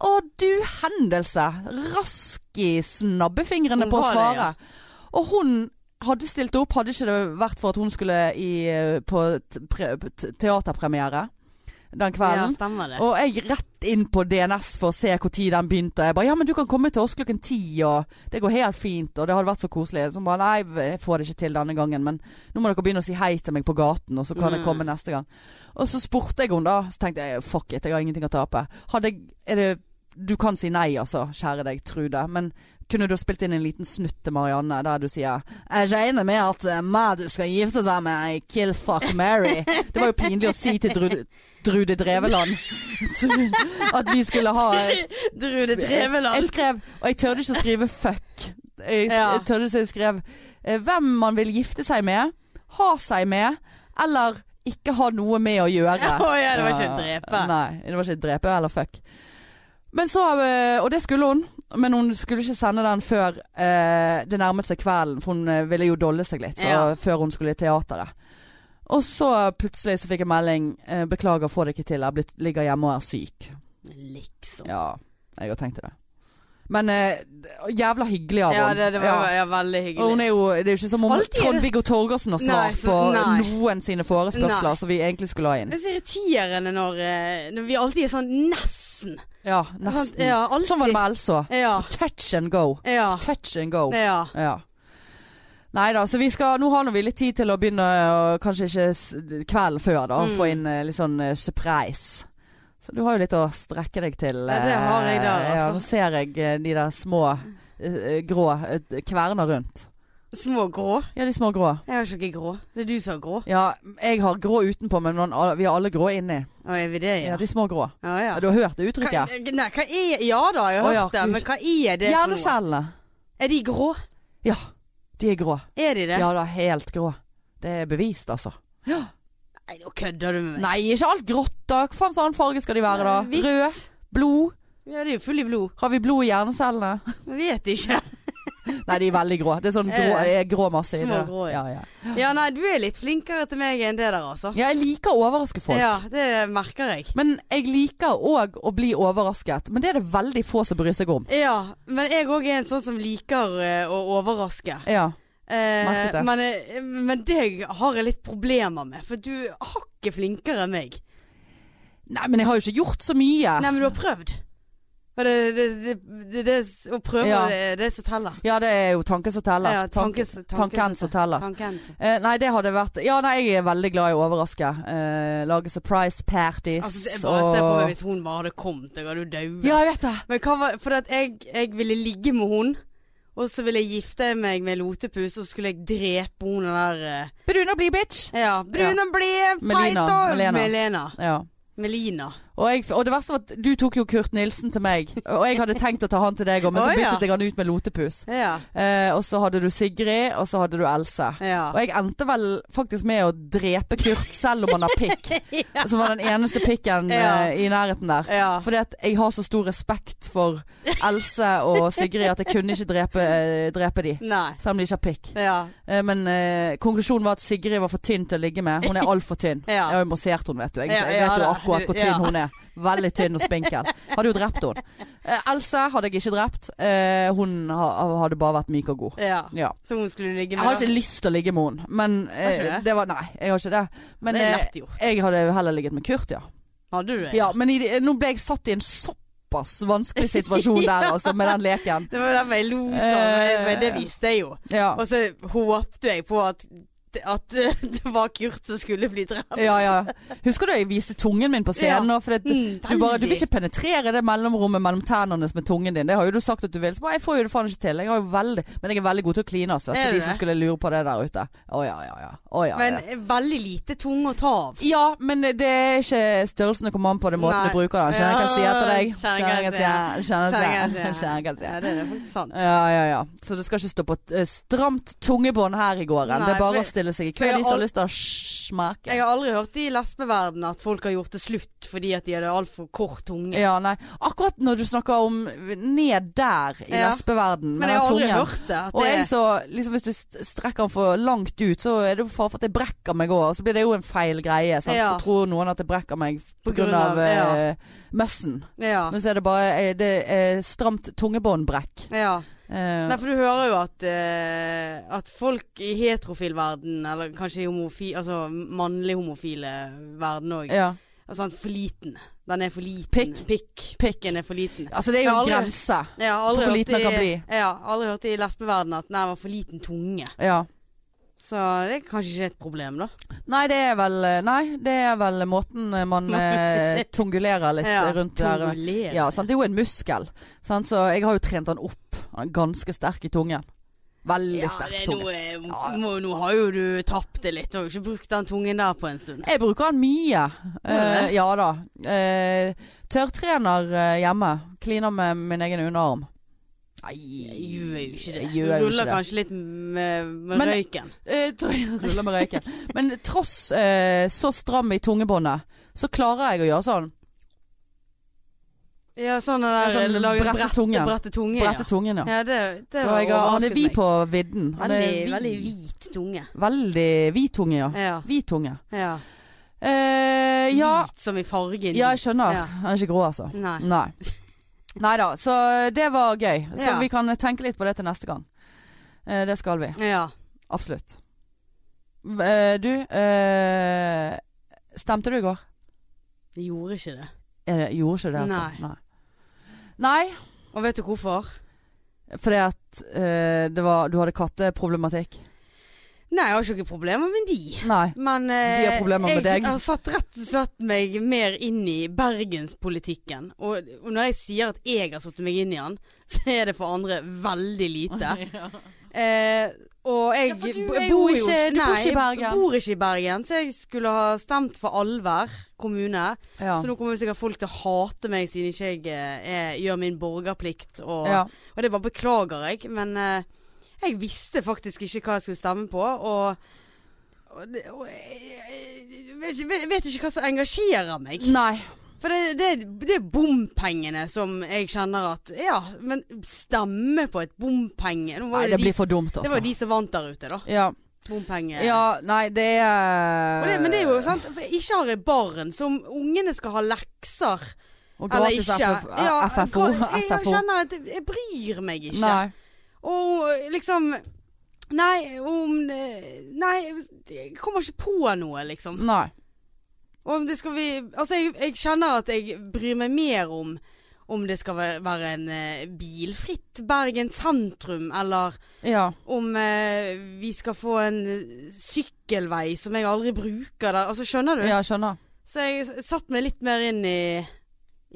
Å du hendelse! Rask i snabbefingrene Hun på å var det, svare. Og hun hadde stilt opp, hadde ikke det vært for at hun skulle i, eh, på t pre t teaterpremiere den Ja, kvelden. stemmer det. og jeg rett inn på DNS for å se hvor tid den begynte. Og jeg bare 'ja, men du kan komme til oss klokken ti', og det går helt fint, og det hadde vært så koselig. Så hun bare 'nei, jeg får det ikke til denne gangen, men nå må dere begynne å si hei til meg på gaten, og så kan jeg Mm. komme neste gang'. Og så spurte jeg henne da, så tenkte jeg 'fuck it, jeg har ingenting å tape'. Hadde jeg er det, Du kan si nei, altså, kjære deg, Trude, men kunne du ha spilt inn en liten snutt til Marianne der du sier 'Jeg regner med at eh, meg du skal gifte deg med, I kill fuck Mary'. Det var jo pinlig å si til Drude, Drude Dreveland at vi skulle ha Drude Jeg Treveland. skrev, og jeg tørde ikke å skrive 'fuck'. Jeg, sk- Ja. jeg tørde så jeg skrev eh, 'hvem man vil gifte seg med, ha seg med, eller ikke ha noe med å gjøre'. Å ja, det var ikke drepe. Nei, det var ikke drepe eller fuck. Men så, eh, og det skulle hun, men hun skulle ikke sende den før eh, det nærmet seg kvelden, for hun eh, ville jo dolle seg litt så, Ja. før hun skulle i teateret. Og så eh, plutselig så fikk jeg melding eh, 'Beklager, får det ikke til. Jeg er blitt, ligger hjemme og er syk'. Liksom. Ja, jeg har tenkt det. Men eh, jævla hyggelig av Ja, henne. det, det var ja, veldig Og hun hyggelig. er jo, det er jo ikke som om Alltid er det- Trond-Viggo Torgersen har svar Nei, så- på nei. noen sine forespørsler Nei. som vi egentlig skulle ha inn. Det er så irriterende når, eh, når vi alltid er sånn nesten. Ja, Sant? nesten. Ja, alltid. Sånn var det med Elsa. Ja. Touch and go. Ja. Touch and go. ja. Ja. Nei da, så vi skal, nå har nå vi litt tid til å begynne, og kanskje ikke s- kvelden før, da. Mm. Få inn eh, litt sånn eh, surprise. Så du har jo litt å strekke deg til. Ja, det har jeg der, eh, Ja, altså. nå ser jeg eh, de der små eh, eh, grå eh, kverner rundt. Små grå. Ja, de små grå. Jeg har ikke grå. Det er du som har grå. Ja, jeg har grå utenpå, men man, vi har alle grå inni. Å, er vi det, Ja, ja? de små grå. Ja, ja. Ja, du har hørt det Hva, uttrykket? nei, hva er Ja da, jeg har Å, ja, hørt det, Gud. men hva er det for noe? Hjernecellene. Er de grå? Ja, de er grå. Er de det? Ja da, helt grå. Det er bevist, altså. Nei, nå kødder du med meg. Nei, ikke alt grått da. Hva faen annen farge skal de være da? Hvitt. Rød? Blod? Ja, det er jo full i blod. Har vi blod i hjernecellene? Jeg vet ikke. Nei, de er veldig grå. Det er sånn grå, er grå masse i det. Eh, Små grå, ja. ja. Ja, Ja, nei, du er litt flinkere til meg enn det der, altså. Ja, jeg liker å overraske folk. Ja, det merker jeg. Men jeg liker òg å bli overrasket. Men det er det veldig få som bryr seg om. Ja, men jeg òg er en sånn som liker eh, å overraske. Ja. Eh, Merket det. men, eh, men det har jeg litt problemer med, for du er hakket flinkere enn meg. Nei, men jeg har jo ikke gjort så mye. Nei, men du har prøvd. Og det, det, det, det, det å prøve, Ja. det er det som teller. Ja, det er jo tanken som teller. Ja, Tank- tankens, tanken som teller. tankens. Eh, nei, det hadde vært Ja, nei, jeg er veldig glad i å overraske. Eh, lage surprise parties Altså, jeg bare ser for meg hvis hun bare hadde kommet, jeg hadde jo daua. Ja, jeg vet det. Men hva var For at jeg, jeg ville ligge med hun, og så ville jeg gifte meg med Lotepus, og så skulle jeg drepe hun der eh, Bruna bli bitch. Ja, brune blid, feit Melina, og Melena. Melena. Ja. Melina. Og, jeg, og det verste var at du tok jo Kurt Nilsen til meg, og jeg hadde tenkt å ta han til deg òg, men så Å, ja. byttet jeg han ut med lotepus. Ja. Eh, og så hadde du Sigrid, og så hadde du Else. ja. Og jeg endte vel faktisk med å drepe Kurt selv om han har pikk. Som var den eneste pikken Ja. eh, i nærheten der. Ja. Fordi at jeg har så stor respekt for Else og Sigrid at jeg kunne ikke drepe, eh, drepe de. Nei. Selv om de ikke har pikk. Ja. Eh, Men eh, konklusjonen var at Sigrid var for tynn til å ligge med. Hun er altfor tynn. Ja. Jeg har jo massert henne, vet du. Jeg, Ja, jeg ja, vet jo da. akkurat hvor tynn Ja. hun er. Veldig tynn og spinkel. Hadde jo drept henne. Eh, Else hadde jeg ikke drept. Eh, hun ha, hadde bare vært myk og god. ja. Ja. Så hun skulle ligge Jeg med har ikke lyst til å ligge med henne, men eh, Har ikke det? det var Nei, jeg har ikke det. Men Det er eh, lett gjort. jeg hadde heller ligget med Kurt, ja. Hadde du det? ja men i, de- nå ble jeg satt i en såpass såpass vanskelig situasjon der, altså, med den leken. Det var derfor jeg lo Eh. sånn, men det visste jeg jo. Ja. Og så håpte jeg på at, at det var Kurt som skulle bli drept. Ja, ja. Husker du jeg viste tungen min på scenen nå? For at du, Mm, du, bare, du veldig. vil ikke penetrere det mellomrommet mellom tennene med tungen din. Det har jo du sagt at du vil. Så bare, jeg får jo det faen ikke til. Jeg har jo veldig, men jeg er veldig god til å kline, altså. Er Til du de som det? skulle lure på det der ute. Å ja, ja, ja. Å, ja, Men eh, ja. veldig lite tung å ta av. Ja, men det er ikke størrelsen det kommer an på, det er måten Nei. du bruker den. Kjenner hva jeg sier til deg. Kjenner hva jeg sier. Kjenner hva jeg Kjenner hva jeg sier. Kjenner sier. hva jeg sier. Ja, det er faktisk sant. Ja, ja, ja. Så det skal ikke stå på et eh, stramt tungebånd her i gården. Nei, det er bare for- å stille seg i for kø. jeg De som al- har lyst til å smake. Jeg har aldri hørt i lesbeverdenen at folk har gjort det slutt fordi at de hadde altfor kort tunge. Ja, nei. Akkurat når du snakker om ned der i Ja. lesbeverden med Men jeg den har aldri tungen. hørt det. At Og det jeg så, liksom Hvis du st- strekker den for langt ut, så er det jo fare for at jeg brekker meg òg. Så blir det jo en feil greie. Sant? Ja. Så tror noen at jeg brekker meg pga. På grunn av, av eh, messen. ja. Men så er det bare eh, det er stramt tungebåndbrekk. ja. Eh, Nei, for du hører jo at, eh, at folk i heterofil verden, eller kanskje i homofi, altså mannlig homofile verden òg, ja. altså, for liten. Den er for liten. Pikk. Pikken er for liten. Altså, det er Jeg jo har en aldri- grense. Jeg har aldri For hørt liten den i- kan bli. Ja, aldri hørt i lesbeverdenen at nei, det var for liten tunge. Ja. Så det er kanskje ikke et problem, da. Nei, det er vel, eh, nei, det er vel måten man eh, tungulerer litt Ja, rundt der. eh, tunguler. Ja, sant? Det er jo en muskel, sant? så jeg har jo trent den opp. Han er ganske sterk i tungen. Veldig Ja, sterk det er tunge. noe, eh, Ja. må, nå har jo du tapt det litt. Du har jo ikke brukt den tungen der på en stund. Jeg bruker den mye. Gjør du Eh, ja da. Eh, tørrtrener eh, hjemme. Kliner med min egen underarm. Nei, Jeg gjør jo ikke det. jeg Du Gjør jo ikke ruller det. kanskje litt med, med Men- røyken. Eh, tror jeg ruller med røyken. Men tross eh, så stram i tungebåndet, så klarer jeg å gjøre sånn. Ja, sånn den der Ja, sånn eh, lager brette brette- tungen. Brette tunge, Brette tungen, ja. ja. ja det, det Så jeg har, han er vid på vidden. Han Veldig, er veldig hvit tunge. Veldig hvit tunge, ja. Ja. Hvit tunge. ja. Eh, ja. Hvit som i fargen. ja, jeg skjønner. Ja. Han er ikke grå, altså. Nei. Nei. Nei da, så det var gøy. Så Ja. vi kan tenke litt på det til neste gang. Eh, det skal vi. Ja. Absolutt. Eh, du, eh, stemte du i går? Det gjorde ikke det. Er det, gjorde ikke det, altså? Nei. Nei, Og vet du hvorfor? fordi at eh, det var, du hadde katteproblematikk. Nei, jeg har ikke noen problemer med de. Nei. Men eh, De har problemer med deg. jeg har satt rett og slett meg mer inn i bergenspolitikken. Og, og når jeg sier at jeg har satt meg inn i den, så er det for andre veldig lite. Eh, og jeg Ja, for du bo- er jeg jo bor ikke- du bor nei, ikke i Bergen. Jeg bor ikke i Bergen, så jeg skulle ha stemt for Alver kommune. Ja. Så nå kommer jo sikkert folk til å hate meg siden ikke jeg eh, er, gjør min borgerplikt. Og, ja. og det bare beklager jeg, men eh, jeg visste faktisk ikke hva jeg skulle stemme på. Og, og, det- og jeg, jeg vet, ikke- vet- vet ikke hva som engasjerer meg. Nei. For det, det, det er bompengene som jeg kjenner at Ja, men stemme på et bompenge Nå Nei, var jo det de blir for dumt, det altså. var jo de som vant der ute, da. ja. Bompenge. ja, eh. nei, det er Og det, men det er jo sånn- sant, for ikke har jeg barn, så om ungene skal ha lekser Og eller gratis ikke FF, ja, FFO. gra- Jeg, jeg SFO. kjenner at jeg bryr meg ikke. Nei. Og liksom Nei, om det- Nei, jeg kommer ikke på noe, liksom. Nei. Og om det skal vi Altså, jeg, jeg kjenner at jeg bryr meg mer om om det skal væ- være en eh, bilfritt Bergen sentrum, eller Ja. om eh, vi skal få en sykkelvei som jeg aldri bruker der. Altså, skjønner du? ja, jeg skjønner. Så jeg s- satt meg litt mer inn i,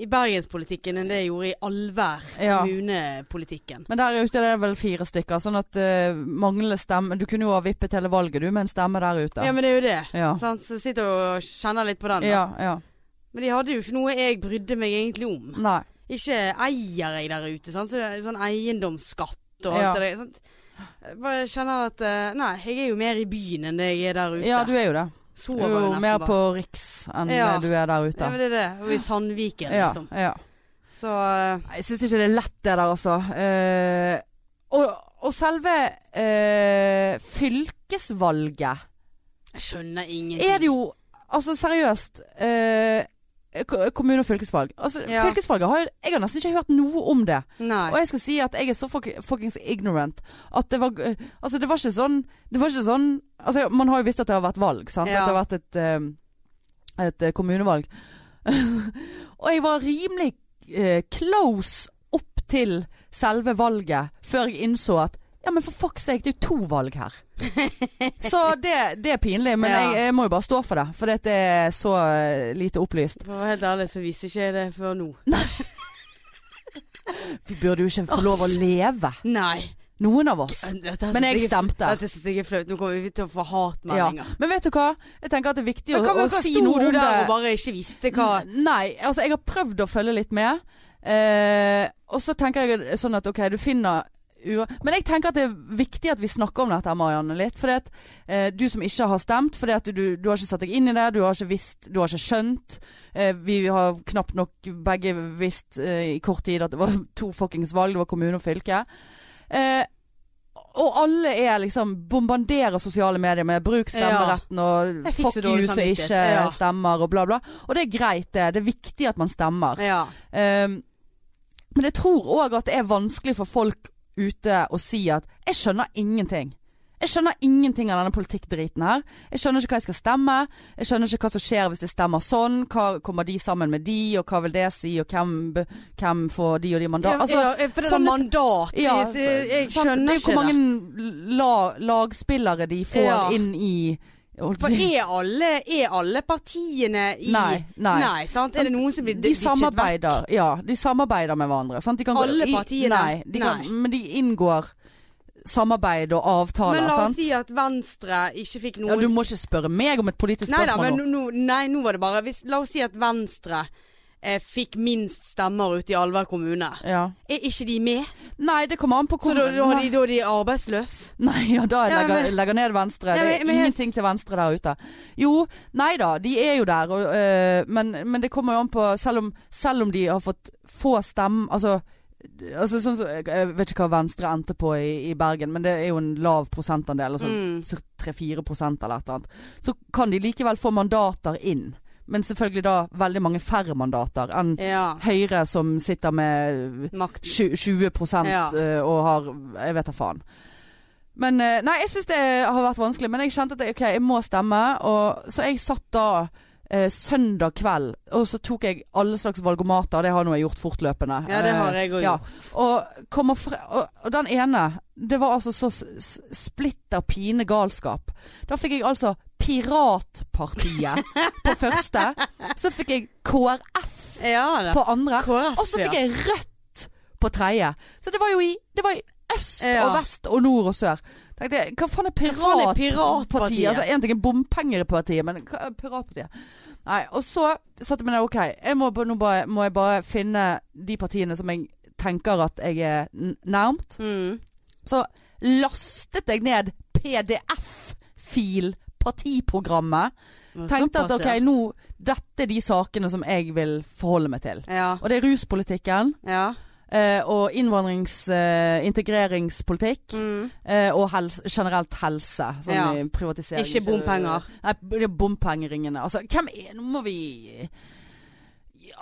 i bergenspolitikken enn det jeg gjorde i allvær Ja. kommunepolitikken. Men der ute er det vel fire stykker, sånn at eh, manglende stemme Du kunne jo ha vippet hele valget, du, med en stemme der ute. Ja, men det er jo det. Ja. Sant? Så jeg sitter og kjenner litt på den. da. Ja, ja. Men de hadde jo ikke noe jeg brydde meg egentlig om. Nei. Ikke eier jeg der ute, sant? så det er sånn eiendomsskatt og alt Ja. det der. Sant? Jeg bare kjenner at eh, Nei, jeg er jo mer i byen enn det jeg er der ute. Ja, du er jo det. Du Sover er jo jo nesten mer bare. på Riks enn Ja. eh, du er der Ja, ute. men det er det. Og i Sandviken, Ja, liksom. ja. Så eh, Nei, Jeg syns ikke det er lett det der, altså. Eh, og, og selve eh, fylkesvalget jeg skjønner ingenting. er det jo Altså seriøst eh, ko- Kommune- og fylkesvalg. Altså, Ja. Fylkesvalget har jo Jeg har nesten ikke hørt noe om det. Og Nei. jeg skal si at jeg er så fuck- fuckings ignorant at det var eh, Altså, det var ikke sånn Det var ikke sånn Altså, man har jo visst at det har vært valg, sant. Ja. At det har vært et, eh, et eh, kommunevalg. og jeg var rimelig eh, close opp til selve valget før jeg innså at ja, men for fuck seg, det er jo to valg her. Så det, det er pinlig, men Ja. jeg, jeg må jo bare stå for det. For dette er så eh, lite opplyst. For å være helt ærlig så visste ikke jeg det før nå. Vi burde jo ikke få lov å leve, Nei. noen av oss. Dette Men jeg stemte. Dette syns jeg altså, er flaut. Nå kommer vi til å få Ja. hatmeldinger. Men vet du hva? Jeg tenker at det er viktig å, Men hva, å men hva si sto noe du om det. der og bare ikke visste hva Nei, altså jeg har prøvd å følge litt med. Eh, og så tenker jeg sånn at ok, du finner ua- men jeg tenker at det er viktig at vi snakker om dette, Marianne, litt. For at, eh, du som ikke har stemt, for du, du har ikke satt deg inn i det, du har ikke visst, du har ikke skjønt. Eh, vi har knapt nok begge visst eh, i kort tid at det var to fuckings valg, det var kommune og fylke. Eh, og alle er liksom bombarderer sosiale medier med 'bruk stemmeretten' og Jeg fikk så fuck you dårlig som samvittighet. ikke Ja. stemmer og bla bla. Og det er greit det, det er viktig at man stemmer. Ja. Um, men jeg tror òg at det er vanskelig for folk ute å si at 'jeg skjønner ingenting'. Jeg skjønner ingenting av denne politikkdriten her. Jeg skjønner ikke hva jeg skal stemme. Jeg skjønner ikke hva som skjer hvis jeg stemmer sånn. Hva kommer de sammen med de, og hva vil det si, og hvem, be- hvem får de og de mandat? Altså, ja, for det sånn er litt- mandat. ja, jeg, jeg, jeg sant? skjønner det. er jo ikke Hvor det. mange la, lagspillere de får Ja. inn i holdt på å For si- er alle, er alle partiene i Nei, nei. sant? Er det noen som blir de ditchet vekk? samarbeider, ja, de samarbeider med hverandre. Sant? De kan gå- Alle i- partiene? Nei, de kan, Nei. men de inngår samarbeid og avtaler. Men la oss sant? si at Venstre ikke fikk ja, noen du må ikke spørre meg om et politisk Nei da, spørsmål men nå. nå, nå- nei, nå var det bare hvis, La oss si at Venstre eh, fikk minst stemmer ute i Alver kommune. Ja. Er ikke de med? Nei, det kommer an på Så hvor da, da, er Nei. de, da er de arbeidsløse? Nei, ja, da jeg Ja, legger, men- legger ned Venstre. Ja, det men- er men jeg- ingenting til Venstre der ute. Jo, nei da, de er jo der, og, øh, men, men det kommer jo an på Selv om, selv om de har fått få stemmer altså, altså sånn som- Jeg vet ikke hva Venstre endte på i, i Bergen, men det er jo en lav prosentandel. Altså, Mm. 3-4 prosent eller et eller annet. Så kan de likevel få mandater inn. Men selvfølgelig da veldig mange færre mandater enn Ja. Høyre som sitter med Makt. 20 20 prosent Ja. eh, og har Jeg vet da faen. Men eh, Nei, jeg syns det har vært vanskelig. Men jeg kjente at jeg- ok, jeg må stemme. Og, så jeg satt da eh, søndag kveld, og så tok jeg alle slags valgomater. Det har nå jeg gjort fortløpende. Ja, det har jeg Eh, òg ja. gjort. Og, kommer fre og, og den ene, det var altså så s- s- splitter pine galskap. Da fikk jeg altså Piratpartiet på første. Så fikk jeg KrF Ja da. på andre. KrF, Og så fikk jeg Rødt på tredje. Så det var jo i, det var i øst og Ja. vest og nord og sør. Tenkte jeg, hva faen er faen er piratpartiet? Piratpartiet? Altså, en ting er bompengepartiet, men hva er piratpartiet? Nei, og så satte jeg meg ned, ok, jeg må, bare- nå bare, må jeg bare finne de partiene som jeg tenker at jeg er n- nærmt. Mm. Så lastet jeg ned PDF-fil partiprogrammet. Tenkte at Såpass, ok, nå, dette er de sakene som jeg vil forholde meg til. Ja. Og det er ruspolitikken. ja. Eh, og innvandrings- eh, integreringspolitikk. Mm. Eh, og helse, generelt helse. Sånn Ja. i privatisering. Ikke bompenger. Nei, b- det er bompengeringene. Altså, hvem er Nå må vi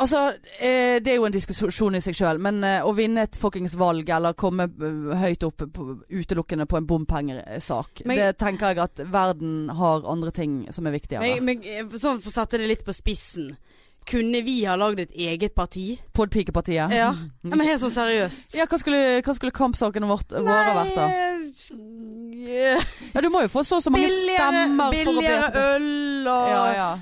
Altså, eh, det er jo en diskusjon i seg sjøl, men eh, å vinne et fuckings valg eller komme eh, høyt opp på, utelukkende på en bompengesak, Men- det tenker jeg at verden har andre ting som er viktigere. Men, men eh, sånn for å sette det litt på spissen. Kunne vi ha lagd et eget parti? Podpikepartiet. Ja. ja men helt sånn seriøst. Ah. Ja, hva skulle, hva skulle kampsakene vårt, våre vært da? da? Ja, du må jo få så og så mange stemmer for å bli Eh, billigere øl og Ja, ja.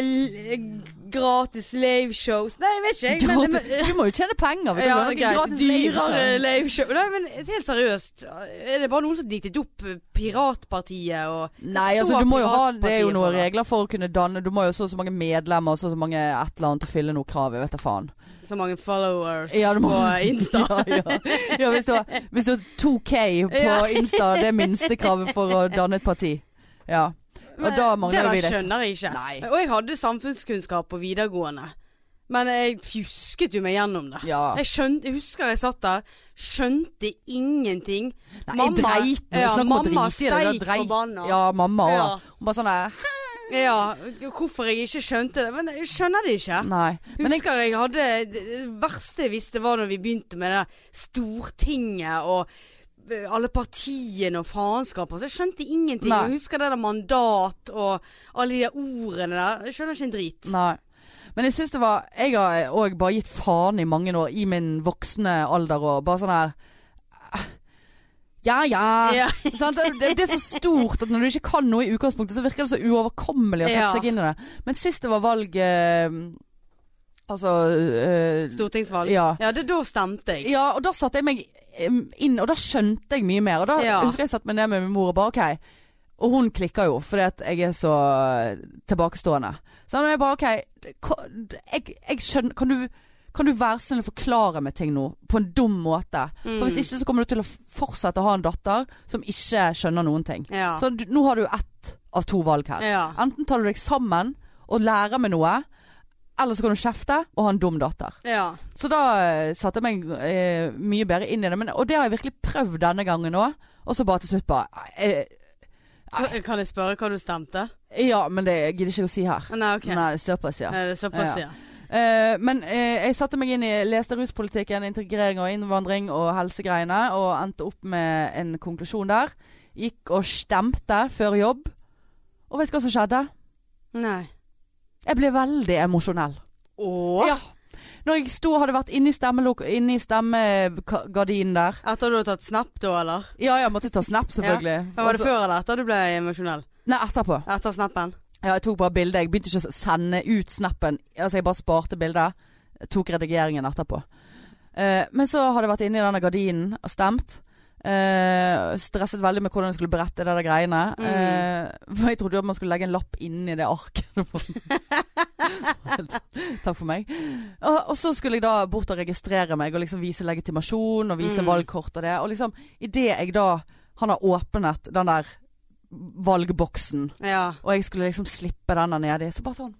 l- gratis liveshows. Nei, jeg vet ikke. jeg, Men, Gratis. Du må jo tjene penger. men, Vet du. ja, hva? Det er greit. gratis liveshow. Dyrere liveshow. Nei, men helt seriøst. Er det bare noen som diktet opp piratpartiet og Nei, Det altså står du må jo ha Det er jo piratpartiet noen for det. regler for å kunne danne Du må jo så og så mange medlemmer og så og så mange et eller annet å fylle noe krav. Jeg vet da faen. så mange followers Ja, du må- på Insta? Ja, ja. Ja, hvis, du har, hvis du har 2K Ja. på Insta, det er minstekravet for å danne et parti. Ja. Og Men da det mangler der vi litt. skjønner jeg ikke. Nei. Og jeg hadde samfunnskunnskap på videregående. Men jeg fjusket jo meg gjennom det. Ja. Jeg, skjønte, jeg husker jeg satt der, skjønte ingenting. Nei, dreit nå. ja, Snakk om å mamma drite i det. da steik dreit- forbanna. Ja. Ja, mamma òg. Ja. Hun bare sånn der, hvorfor jeg ikke skjønte det. Men jeg skjønner det ikke. Nei. Men jeg, Husker jeg hadde Det verste jeg visste var når vi begynte med det Stortinget og eh, alle partiene og faenskaper. Så jeg skjønte ingenting. Nei. Jeg husker det der mandat og alle de der ordene der. Jeg skjønner ikke en drit. nei. Men jeg syns det var Jeg har òg bare gitt faen i mange år, i min voksne alder og bare sånn her eh, Ja ja. Ja. Sant? Det, det er så stort at når du ikke kan noe i utgangspunktet, så virker det så uoverkommelig å sette Ja. seg inn i det. Men sist det var valg eh, Altså eh, Stortingsvalg. Ja. Ja, det da stemte jeg. Ja, og da satte jeg meg em, inn, og da skjønte jeg mye mer. Og da Ja. husker jeg satt meg ned med min mor og bare OK. Og hun klikker jo, fordi at jeg er så eh, tilbakestående. Så jeg bare OK, ko- jeg, jeg skjønner kan du, kan du være så snill å forklare meg ting nå, på en dum måte? Mm. For hvis ikke så kommer du til å f- fortsette å ha en datter som ikke skjønner noen ting. Ja. Så du, nå har du ett av to valg her. ja. Enten tar du deg sammen og lærer meg noe, eller så kan du kjefte og ha en dum datter. ja. Så da eh, satte jeg meg eh, mye bedre inn i det. Men, og det har jeg virkelig prøvd denne gangen òg. Og så bare til slutt bare eh, Kan- eh, Kan jeg spørre hva du stemte? Ja, men det gidder jeg ikke å si her. Nei, ok. Nei, såpass, ja. Er det såpass, ja. Eh, men eh, jeg satte meg inn i leste ruspolitikken, integrering og innvandring og helsegreiene, og endte opp med en konklusjon der. Gikk og stemte før jobb. Og vet du hva som skjedde? Nei. Jeg ble veldig emosjonell. Åh. Ja. Når jeg sto, hadde vært inne i stemmelok- inne i stemmegardinen der. Etter du har tatt snap da, eller? Ja, jeg måtte ta snap, selvfølgelig. Men var det Og så- før eller etter du ble emosjonell? Nei, etterpå. Etter snappen? Ja, jeg tok bare bildet. Jeg begynte ikke å sende ut snappen. Altså, jeg bare sparte bildet. Tok redigeringen etterpå. Eh, men så hadde jeg vært inne i denne gardinen og stemt. Eh, stresset veldig med hvordan jeg skulle berette det der greiene. Eh, for jeg trodde jo at man skulle legge en lapp inni det arket. Takk for meg. Og, og så skulle jeg da bort og registrere meg og liksom vise legitimasjon og vise Mm. valgkort og det. Og liksom idet jeg da Han har åpnet den der valgboksen Ja. og jeg skulle liksom slippe denne nedi. Så bare sånn.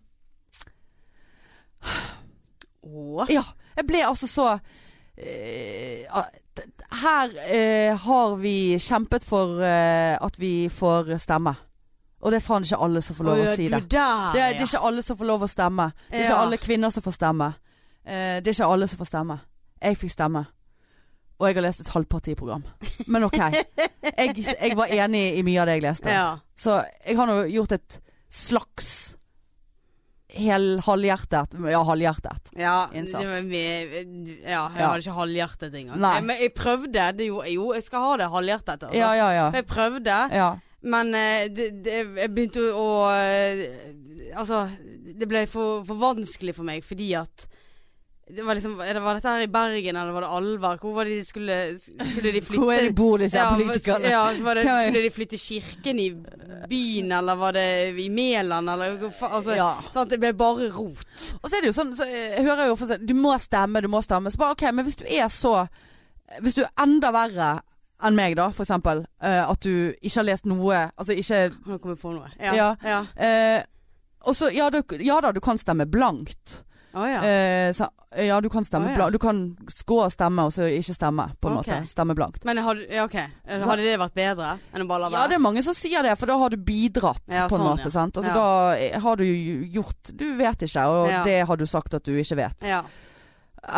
Åh. Ja. Jeg ble altså så eh, at- Her eh, har vi kjempet for eh, at vi får stemme. Og det er faen ikke alle som får lov å Åh, ja, si du det. Der, Det er, det er ikke alle som får lov å stemme. Det er ikke Ja. alle kvinner som får stemme. Eh, det er ikke alle som får stemme. Jeg fikk stemme. Og jeg har lest et halvpartiprogram. Men ok. Jeg, jeg var enig i mye av det jeg leste. ja. Så jeg har nå gjort et slags hel, halvhjertet Ja, halvhjertet. Ja, Innsats. det var mye- ja, jeg Ja. hadde ikke halvhjertet engang. Nei. Eh, Men jeg prøvde. Det jo, jo, jeg skal ha det halvhjertet. Altså. Ja, ja, ja. Jeg prøvde, ja. men eh, det, det, jeg begynte å eh, Altså, det ble for, for vanskelig for meg fordi at det var, liksom, er det- var dette her i Bergen, eller var det Alver? Hvor var det de skulle Skulle de flytte Hvor er de bor, disse Ja, politikerne? Ja, så var det, Hva er- skulle de flytte kirken i byen, eller var det i Mæland, eller hva fa- altså, Ja. sånn, Det ble bare rot. Og så er det jo sånn, så jeg hører jo ofte sånn Du må stemme, du må stemme. Så bare OK, men hvis du er så Hvis du er enda verre enn meg, da, for eksempel, eh, at du ikke har lest noe Altså ikke Nå kom jeg på noe. Ja. Ja. ja. eh, Og så ja, du, ja da, du kan stemme blankt. Å, ja. Eh, så, ja, du kan stemme Å, ja. blankt. Du kan gå og stemme, og så ikke stemme, på en Ok. måte. Stemme blankt. Men hadde, ja, ok. hadde det vært bedre enn å bare la Ja, det være? er mange som sier det, for da har du bidratt Ja, på en sånn, måte. ja. Sant? Altså, Ja. Da har du jo gjort Du vet ikke, og Ja. det har du sagt at du ikke vet. Ja.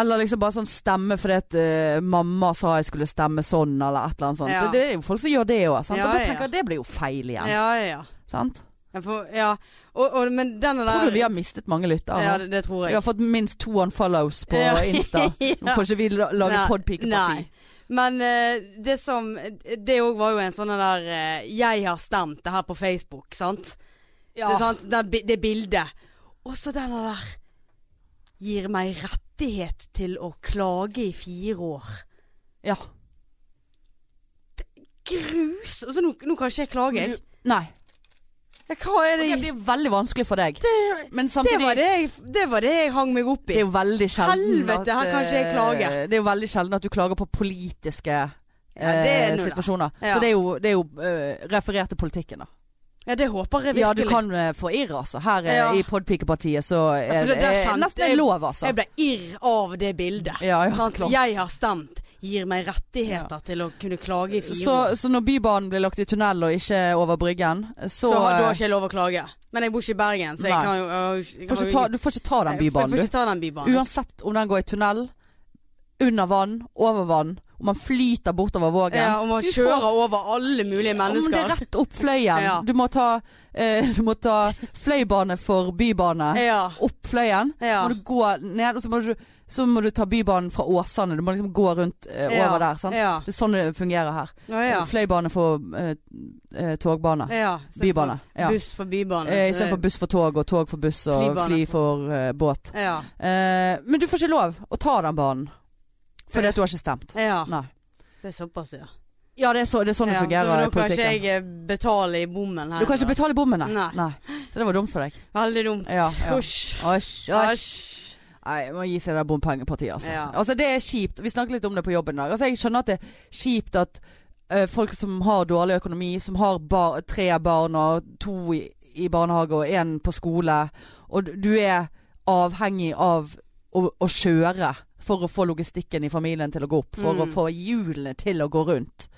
Eller liksom bare sånn stemme fordi at eh, mamma sa jeg skulle stemme sånn, eller et eller annet sånt. Ja. Det, det er jo folk som gjør det òg. Ja, og da ja. tenker jeg det blir jo feil Ja, igjen. ja, ja. Sant? Jeg får, ja. Og, og, men denne der Tror du vi har mistet mange lyttere? Ja, nå? det, det tror Vi jeg. har fått minst to unfollows på Ja. Insta. Nå får ikke vi la- lage Nei, podpikeparti. nei. Men eh, det som Det òg var jo en sånn der eh, 'Jeg har stemt det her på Facebook', sant? Ja. Det, er sant? Det, bi- det bildet. Og så denne der Gir meg rettighet til å klage i fire år. Ja. Grus! Og så nå, nå kan ikke jeg klage, jeg. Nei. Ja, Hva er Og Det det blir veldig vanskelig for deg. Men det samtidig var det, jeg, det var det jeg hang meg opp i. Det er jo veldig sjelden Helvete, her kan ikke jeg eh, klage. Det er jo veldig sjelden at du klager på politiske Ja, det er eh, nå det. situasjoner. Ja. Så det er jo, det er jo eh, referert til politikken, da. Ja, det håper jeg Ja, virkelig. du kan eh, forvirre, altså. Her eh, Ja. i Podpikepartiet så Ja, er for det det, der er kjente nesten jeg- en lov, altså. Jeg ble irr av det bildet. Ja, ja, sant? klart. Jeg har stemt. Gir meg rettigheter til å kunne klage i fire Så, år. så når Bybanen blir lagt i tunnel og ikke over Bryggen, så, Så har, da har eh, ikke jeg lov å klage. Men jeg bor ikke i Bergen, så jeg Nei. kan jo jeg har jo ikke- jeg får har ikke ta, jo ingen- Du får ikke ta den Jeg får- jeg Bybanen, får du. ikke ta den bybanen. Uansett om den går i tunnel, under vann, over vann, om man flyter bortover vågen. ja, og man Du får- kjører over alle mulige Om det er mennesker. rett opp fløyen. Ja. Du, må ta, eh, du må ta fløybane for bybane. Ja. Opp Fløyen. Ja. Må du gå ned, og så må du, så må du ta Bybanen fra Åsane. Du må liksom gå rundt eh, over Ja. der. Sant? Ja. Det er sånn det fungerer her. Å, ja. Fløybane for eh, eh, togbane. ja. Bybane. Ja. Buss for bybane. Eh, Istedenfor buss for tog og tog for buss og Flybane fly for- for eh, båt. Ja. Eh, men du får ikke lov å ta den banen. Fordi at du har ikke stemt. ja. Nei. Det er såpass, ja. Ja, det er, så, det er sånn det ja. Så fungerer da i kan ikke politikken. jeg eh, betale i bommen her. Du kan ikke da. betale bommene. Nei. Så det var dumt for deg. Veldig dumt. Ja, ja. Husj. Asj, asj. Æsj. Nei, jeg må gi seg det der bompengepartiet, altså. Ja. altså. Det er kjipt. Vi snakket litt om det på jobben i dag. Altså, jeg skjønner at det er kjipt at eh, folk som har dårlig økonomi, som har bar tre barn og to i, i barnehage og én på skole, og du- du er avhengig av å, å kjøre for å få logistikken i familien til å gå opp, for å Mm. få hjulene til å gå rundt,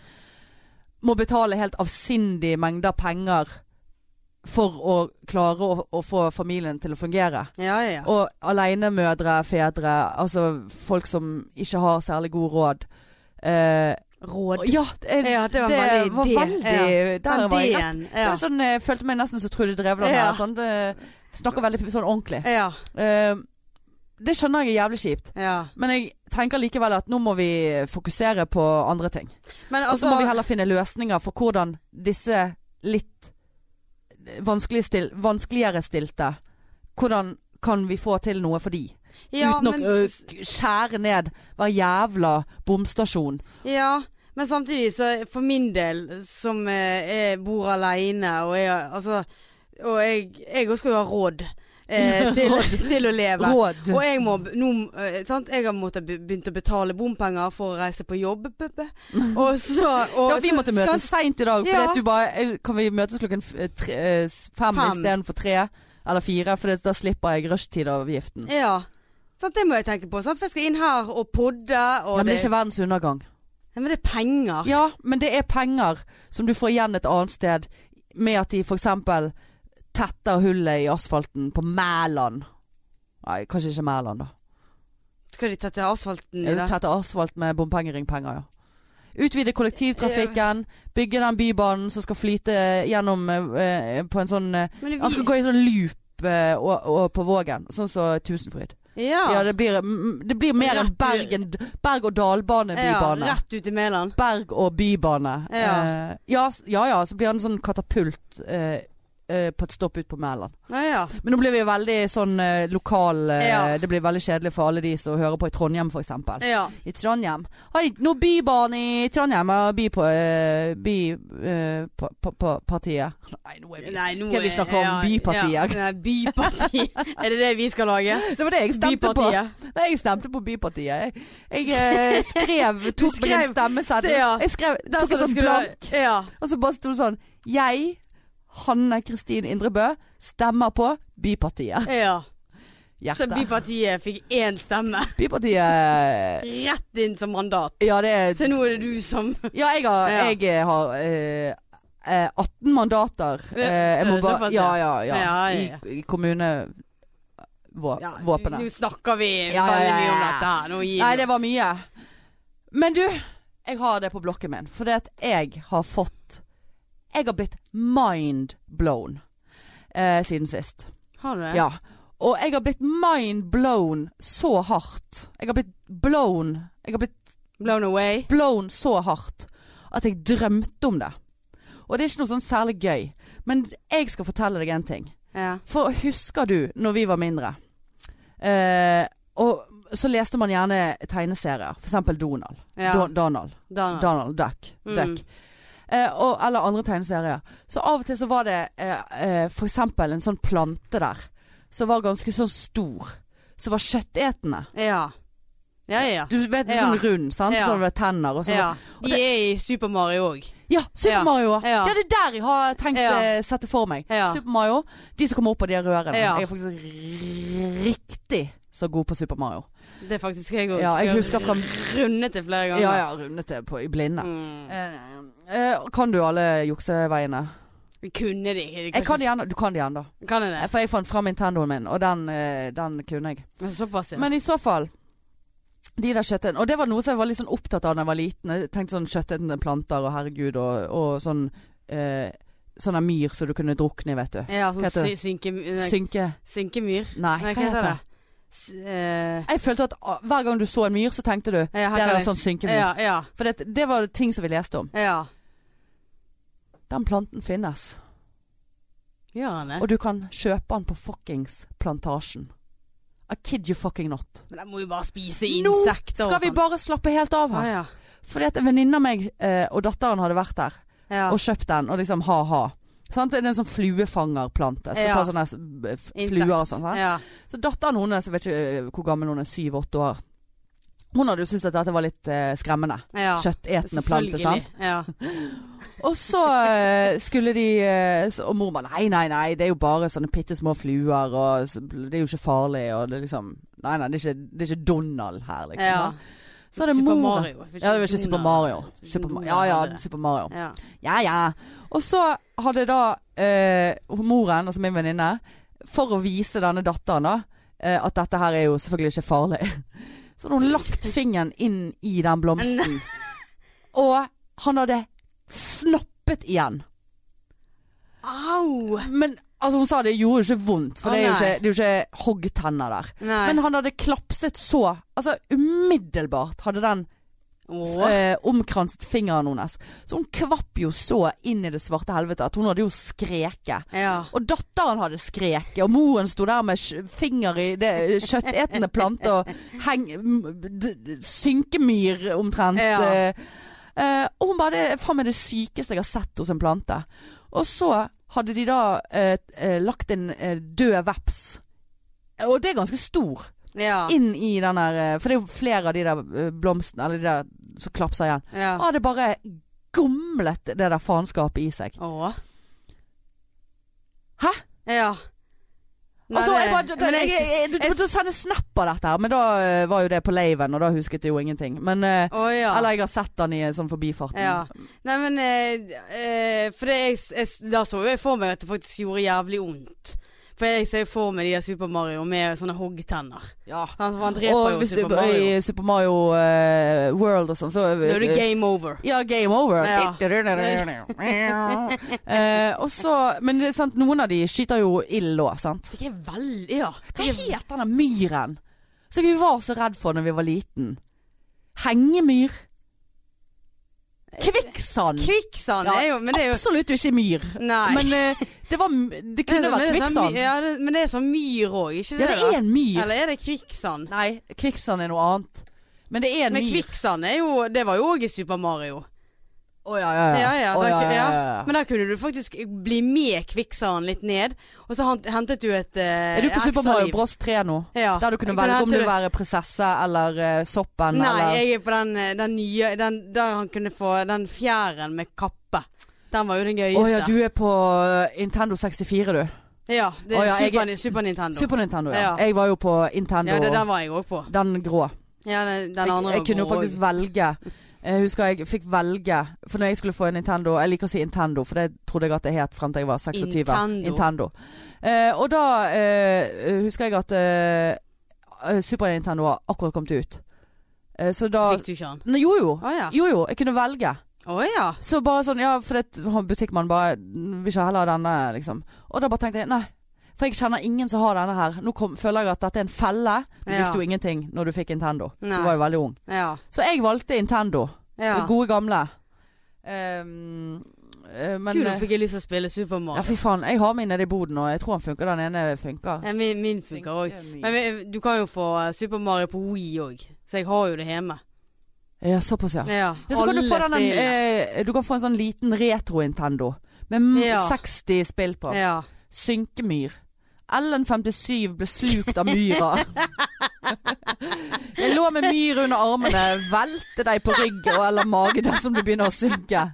må betale helt avsindige mengder penger for å klare å, å få familien til å fungere. Ja, ja. Og alenemødre, fedre, altså folk som ikke har særlig god råd. Eh, Råd. ja, det, Ja, det var det veldig var det. veldig Der Den var jeg rett. D-en. Det Ja. var sånn, jeg følte meg nesten som Trude Drevland Ja. her. Sånn, det, snakker veldig sånn ordentlig. Ja. Eh, det skjønner jeg er jævlig kjipt. ja. Men jeg tenker likevel at nå må vi fokusere på andre ting. Men Og så altså må vi heller finne løsninger for hvordan disse litt vanskelig stil, vanskeligere stilte Hvordan kan vi få til noe for de? ja, uten men- å ø, k- skjære ned hver jævla bomstasjon. Ja, men samtidig så for min del, som eh, jeg bor aleine og jeg altså Og jeg, jeg også skal jo ha råd eh, til, til å leve. Råd. Og jeg må b- nå eh, sant? Jeg har måttet be- begynt å betale bompenger for å reise på jobb. b- b- Og så og, Ja, vi så måtte skal- møtes seint i dag. Fordi Ja. at du bare, eh, kan vi møtes klokken f- eh, tre, eh, s- fem, Fem. istedenfor tre? Eller fire, for da slipper jeg rushtidavgiften. Ja, Ja. Sant, det må jeg tenke på. Sant? For jeg skal inn her og podde, og men det det, er ikke verdens undergang. Nei, men det er penger. Ja, men det er penger som du får igjen et annet sted med at de f.eks. tetter hullet i asfalten på Mæland. Nei, kanskje ikke Mæland, da. Skal de ta til asfalten i Ja. det? Tette asfalt med bompengeringpenger, ja. Utvide kollektivtrafikken, bygge den bybanen som skal flyte gjennom eh, på en sånn eh, Men Han skal gå i en sånn loop eh, og, og på Vågen, sånn som Tusenfryd. ja. Ja, det blir, mm, det blir mer en Rett- Bergen, berg- og dalbane-bybane. Ja, rett ut i Mæland. Berg- og bybane. Ja. Eh, ja, s- ja ja, så blir han en sånn katapult eh, eh, på et stopp ut på Mæland. Ja, ja. Men nå blir vi veldig sånn eh, lokal eh, Ja. Det blir veldig kjedelig for alle de som hører på i Trondheim, for eksempel ja. i Trondheim. Har ikke noe bybane i Trondheim og by på, eh, by, eh, på, på, på partiet. Nei, nå er vi Nei, nå Hva er vi er- snakker om? Bypartiet. Ja, nei, bypartiet. er det det vi skal lage? Det var det jeg stemte Bypartiet. på. Nei, jeg stemte på Bypartiet. Jeg, jeg eh, skrev Du tok meg en skrev- stemmeseddel. det, ja. Jeg skrev, Der tok skal en det sånn skulle- blank, Ja. og så bare sto det sånn Jeg, Hanne Kristin Indrebø, stemmer på Bypartiet. ja. Så Hjerte. bypartiet fikk én stemme Bypartiet rett inn som mandat. Ja, det er Så nå er det du som Ja, jeg har, Ja. jeg eh, har eh, eh, 18 mandater. Eh, jeg må det er bare såpass, ja, ja. ja, ja. Ja, ja, ja. I, i Ja, kommunevåpenet. Nå snakker Ja, vi ja, veldig ja, mye om ja. dette her. Nå gir vi Nei, det var oss. mye. Men du, jeg har det på blokken min. For det at jeg har fått Jeg har blitt mind blown eh, siden sist. Har du det? Ja. Og jeg har blitt mind blown så hardt. Jeg har blitt blown Jeg har blitt Blown away? blown så hardt at jeg drømte om det. Og det er ikke noe sånn særlig gøy. Men jeg skal fortelle deg en ting. Ja. For husker du når vi var mindre? Eh, og så leste man gjerne tegneserier. For eksempel Donald. ja. Don Donald. Donald. Donald Duck. Ah. Mm. Duck. Eh, og, eller andre tegneserier. Så av og til så var det eh, eh, for eksempel en sånn plante der som var ganske sånn stor. Som var kjøttetende. ja. Ja, ja. Du vet, Ja. sånn rund, sant? Ja. Så var det tenner og sånn. ja. og De er i Super Mario òg. Ja, Super Ja. Mario. Ja. Ja. det er der jeg har tenkt Ja. eh, sette for meg. Ja. Super Mario. De som kommer opp av de rørene. Ja. Jeg er faktisk riktig så god på Super Mario. Det er faktisk jeg òg. Ja, jeg husker fra Rundet det flere Ja, ganger. ja, rundet det på i blinde. Mm. Eh, eh, kan du alle jukseveiene? Kunne de? Jeg kan det igjen, du kan det igjen da. Kan jeg det? For jeg fant fram Nintendoen min, og den, eh, den kunne jeg. Såpass, ja. Men i så fall de der kjøttetene. Og det var noe som jeg var litt sånn opptatt av da jeg var liten. Jeg tenkte sånn kjøttetende planter og herregud og, og sånn eh, sånn en myr som du kunne drukne i, vet du. Ja, sånn Hva heter sy det? synke... Nei, Synke. synkemyr? Nei, Nei, hva heter det? S eh, Jeg følte at ah, hver gang du så en myr, så tenkte du ja, Der her kan er jeg- det sånn synkemyr. Ja, ja, For det, det var ting som vi leste om. ja. Den planten finnes. Gjør han det? Og du kan kjøpe den på fuckings plantasjen. I kid you fucking not. Men de må jo bare spise Nå insekter Skal vi bare slappe helt av ah, her? sånn. ja. Fordi at en venninne av meg eh, og datteren hadde vært der ja. og kjøpt den, og liksom ha-ha. Sant? Det er en sånn fluefangerplante. Skal Ja. ta sånne eh, f- Insekt. fluer og sånn. sant? Ja. Så datteren hennes, jeg vet ikke eh, hvor gammel hun er, syv-åtte år. Hun hadde jo syntes at dette var litt eh, skremmende. ja. Kjøttetende plante, sant. Ja. Og så eh, skulle de eh, så- Og mor bare nei, nei, nei, det er jo bare sånne bitte små fluer, og s- det er jo ikke farlig, og det er liksom Nei, nei, det er ikke, det er ikke Donald her, liksom. ja. Så hadde Super moren Mario. Ja, det var ikke Super Mario. Super, Ma- ja, ja, Super Mario. Ja. Ja, ja. Og så hadde da eh, moren, altså min venninne, for å vise denne datteren da, eh, at dette her er jo selvfølgelig ikke farlig, så hadde hun lagt fingeren inn i den blomsten. Og han hadde snoppet igjen. Au! Men altså, hun sa det gjorde jo ikke vondt, for Å, det, er jo nei. ikke, det er jo ikke hoggtenner der. Nei. Men han hadde klapset så Altså umiddelbart hadde den Åh. eh, omkranset fingeren hennes. Så hun kvapp jo så inn i det svarte helvete at hun hadde jo skreket. ja. Og datteren hadde skreket, og moren sto der med sj- finger i det kjøttetende plante og heng, m- d- d- synkemyr omtrent. Ja. eh. Eh, og hun bare Det er faen meg det sykeste jeg har sett hos en plante. Og så hadde de da eh, eh, lagt en eh, død veps. Og det er ganske stor Ja. inn i den der eh, For det er jo flere av de der eh, blomstene, eller de der som klapser igjen. ja. Han hadde bare gomlet det der faenskapet i seg. Åh. Hæ? Ja. Nei, altså, jeg bare, det- da, men jeg, jeg, jeg, du jeg- måtte sende snap av dette her, men da eh, var jo det på laven, og da husket jeg jo ingenting. Men, eh, Å ja. Eller jeg har sett den i eh, sånn forbifarten. Ja. Nei, men eh, eh, For det jeg, jeg, da så jo jeg for meg at det faktisk gjorde jævlig vondt. For jeg ser jo for meg de der Super Mario med sånne hoggtenner. Ja. Han, han dreper Og jo hvis du Super Mario. i Super Mario eh, World og sånn, så Da er det game over. Ja, game over. Ja. Eh, og så Men det er sant, noen av de skyter jo ild òg, sant? Det er veldig Ja. Hva det er- het denne myren? Som vi var så redd for når vi var liten. Hengemyr. Kvikksand. Kvikksand Ja, er jo Men det er jo Absolutt ikke myr. Nei. Men eh, det, var, m- det kunne Men vært det er sånn my- kvikksand. Ja, det, men det er sånn myr òg, ikke Ja, det? det er en da? myr. Eller er det kvikksand? Nei, kvikksand er noe annet. Men det er en Men myr. kvikksand er jo Det var jo òg i Super Mario. Å ja, ja, Ja, ja, Å, da- ja, ja, ja. ja. Men der kunne du faktisk bli med kvikksanden litt ned, og så han- hentet du et eh, Er du på Super ekstra Mario liv. Bros 3 nå? Ja. Der du kunne Jeg velge om hente du det. vil være prinsesse eller eh, soppen Nei, eller jeg er på den, eh, den nye den, Der han kunne få den fjæren med kappe. Den var jo den Å gøyeste. ja, du er på eh, Nintendo 64, du. Ja, det Å er ja, jeg Super, Super Nintendo. Super Nintendo, ja. Ja. Jeg var jo på Nintendo. ja, det, den var jeg òg på. Den grå. Ja, den, den Jeg, andre jeg kunne jo var god faktisk også. velge. Jeg husker jeg fikk velge For når jeg skulle få en Nintendo Jeg liker å si Nintendo, for det trodde jeg at det het frem til jeg var 26. Nintendo. Nintendo. Eh, og da eh, husker jeg at eh, Super Nintendo har akkurat kommet ut. Eh, så da Fikk du Ah. ikke den? Nei, jo, jo. Å ja. Jo jo, jeg kunne velge. Å ja. Så bare sånn, ja, for det han butikkmannen bare "Mm, Vil ikke heller ha denne, liksom. Og da bare tenkte jeg, nei. For jeg kjenner ingen som har denne her. Nå kom, føler jeg at dette er en felle. Du Ja. visste jo ingenting når du fikk Nintendo. Nei. Du var jo veldig ung. Ja. Så jeg valgte Nintendo. ja. Det gode gamle. Ehm, eh, men Gud, nå eh, fikk jeg lyst til å spille Super Ja, Mario. fy faen. Jeg har min nede i boden, og jeg tror han funker. Den ene funker. Ja, min, min funker òg. Men vi- du kan jo få eh, Super Mario på Wii òg, så jeg har jo det hjemme. Ja, såpass, ja. Ja, Ja, så kan du, få den, spillene. eh, du kan få en sånn liten retro-Nintendo med m- Ja. 60 spill på. ja. Synkemyr. Ellen 57 ble slukt av myra. Jeg lå med myr under armene, velte deg på rygg og eller mage dersom du begynner å synke.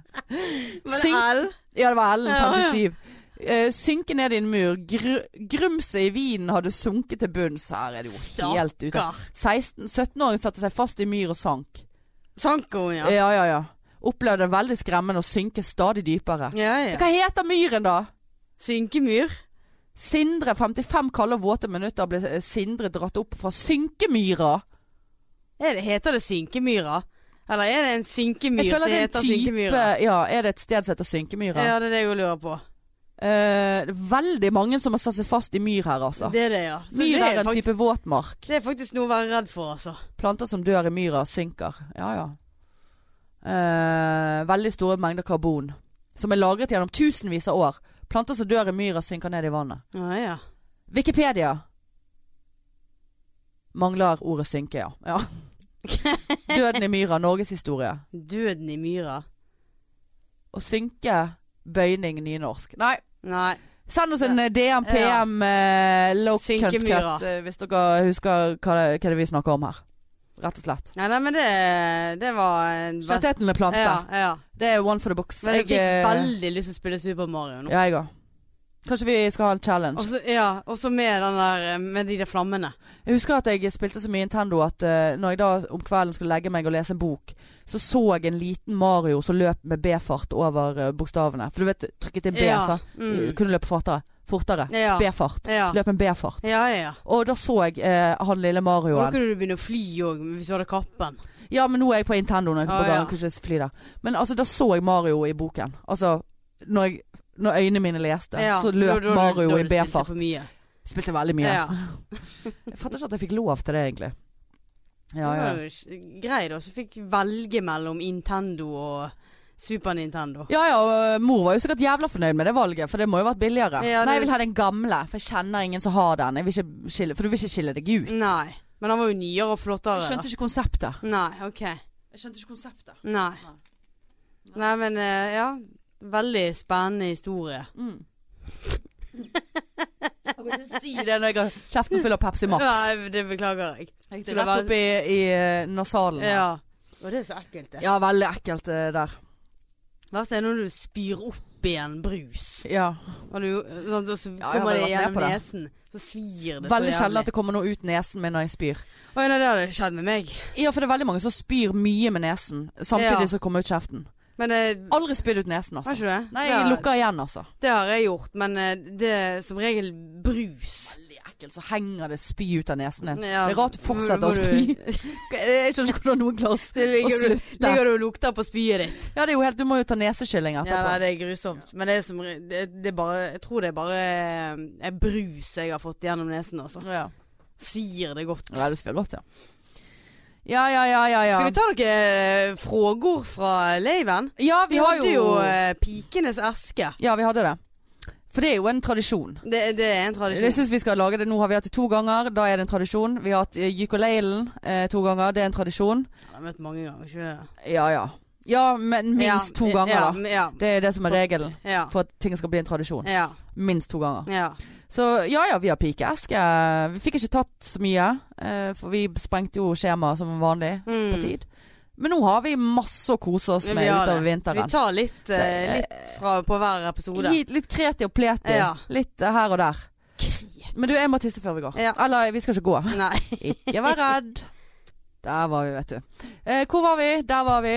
Synk L? Ja, det var Ellen Ja, ja. 57. Eh, synke ned i en mur. Gr grumset i vinen hadde sunket til bunns. Her er det jo helt ute. Stakkar. 17-åringen satte seg fast i myr og sank. Sanko, ja. Ja, ja, ja. Opplevde det veldig skremmende å synke stadig dypere. Ja, ja. Hva heter myren, da? Synkemyr. Sindre, 55 kalde og våte minutter, ble eh, Sindre dratt opp fra synkemyra. Er det, heter det synkemyra? Eller er det en synkemyr Jeg som føler det er heter en type synkemyra? Ja, er det et sted som heter synkemyra? Ja, det er det jeg lurer på. Eh, det er veldig mange som har satt seg fast i myr her, altså. Det er det, ja. Så Myr det, er er en faktisk, type våtmark. det er faktisk noe å være redd for, altså. Planter som dør i myra, synker. Ja, ja. Eh, veldig store mengder karbon. Som er lagret gjennom tusenvis av år. Planter som dør i myra, synker ned i vannet. Ja, ja. Wikipedia mangler ordet synke, ja. ja. Døden i myra, norgeshistorie. Døden i myra. Å synke, bøyning, nynorsk. Nei. Nei. Send oss en eh, DM, Ja. PM, eh, low cut Synkemyra. cut, eh, hvis dere husker hva det, hva det er vi snakker om her. Rett og slett. Nei, nei, men det, det var en Kjærtetende planter. Ja, ja. Det er one for the books. Men jeg fikk eh, veldig lyst til å spille Super Mario nå. Ja, jeg òg. Kanskje vi skal ha en challenge. Også, ja, også med den der Med de der flammene. Jeg husker at jeg spilte så mye Nintendo at eh, når jeg da om kvelden skulle legge meg og lese en bok, så så jeg en liten Mario som løp med B-fart over eh, bokstavene. For du vet, trykket inn B, ja. så Mm. kunne løpe fortere. fortere. Ja. B-fart. Ja. Løp en B-fart. ja, ja, ja. Og da så jeg eh, han lille Og da Marioen. kunne du begynne å fly òg, hvis du hadde kappen. Ja, men nå er jeg på Nintendo når jeg kommer Ah, på gang. ja. Kunne ikke fly der. Men altså, da så jeg Mario i boken. Altså, når, jeg, når øynene mine leste, Ja, så da- løp da- da Mario i du spilte B-fart. for mye. Spilte veldig mye. Ja. Jeg fatter ikke at jeg fikk lov til det, egentlig. Ja, ja. Det var jo s- grei, da. Så fikk velge mellom Nintendo og Super Nintendo. Ja, ja, og eh, mor var jo sikkert jævla fornøyd med det valget, for det må jo ha vært billigere. Ja, det- Nei, jeg vil ha den gamle, for jeg kjenner ingen som har den. Jeg vil ikke skille, for du vil ikke skille deg ut. Nei. Men han var jo nyere og flottere. Jeg da. skjønte ikke konseptet. Nei, OK. Jeg skjønte ikke konseptet. Nei. Nei. Nei, men eh, ja. Veldig spennende historie. Mm. Jeg kan ikke si det når jeg har kjeften full av Pepsi Max. Nei, det beklager jeg. Jeg skulle skulle vært- vært oppi i eh, nasalen. her. Ja. Og det er så ekkelt, det. ja, veldig ekkelt eh, der. Verst er når du spyr opp igjen brus. Ja. Og, du, sånn, og Ja, så jeg har kommer det vært med gjennom på det. nesen. Så svir det Veldig så sjelden at det kommer noe ut nesen min når jeg spyr. Oi, nei, det hadde skjedd med meg. Ja, for det er veldig mange som spyr mye med nesen, samtidig Ja. som kommer ut kjeften. Men eh, Aldri spydd ut nesen, har altså. ikke du det? Nei, det, jeg har- lukker igjen, altså. det har jeg gjort, men eh, det er som regel brus. Veldig ekkelt, så henger det spy ut av nesen din. Ja, det er rart du fortsetter å hvor- hvor spy. du- Jeg skjønner ikke hvordan noen klarer å s- Det å ligger, du, slutte. ligger du og lukter på spyet ditt. Ja, det er jo helt, du må jo ta neseskylling Ja, nei, etterpå. det er grusomt. Men det er som re- det, det er bare Jeg tror det er bare eh, er brus jeg har fått gjennom nesen, altså. Ja, Svir det godt. Ja, det spiller godt, ja. Ja, ja, ja, ja. ja. Skal vi ta noen frågord fra leiven? Ja, vi, Vi har hadde jo jo eh, Pikenes eske. Ja, vi hadde det. For det er jo en tradisjon. Det, det er en Jeg tradisjon. syns vi skal lage det. Nå har vi hatt det to ganger. Da er det en tradisjon. Vi har hatt eh, ukulelen eh, to ganger. Det er en tradisjon. Jeg har møtt mange ganger, ikke det? Ja, ja. Ja, men minst to ganger, ja, da. Ja, Det er det som er regelen ja, for at ting skal bli en tradisjon. ja, Minst to ganger. ja. Så ja ja, vi har pikeeske. Vi fikk ikke tatt så mye, eh, for vi sprengte jo skjemaet som vanlig Mm. på tid. Men nå har vi masse å kose oss Men med vi har utover det. Så vinteren. vi tar litt, eh, Så, eh, litt fra, på hver episode. Gi litt kreti og pleti. Ja. Litt eh, her og der. Men du, jeg må tisse før vi går. Ja. Eller vi skal ikke gå. Nei. Ikke vær redd. Der var vi, vet du. Eh, hvor var vi? Der var vi.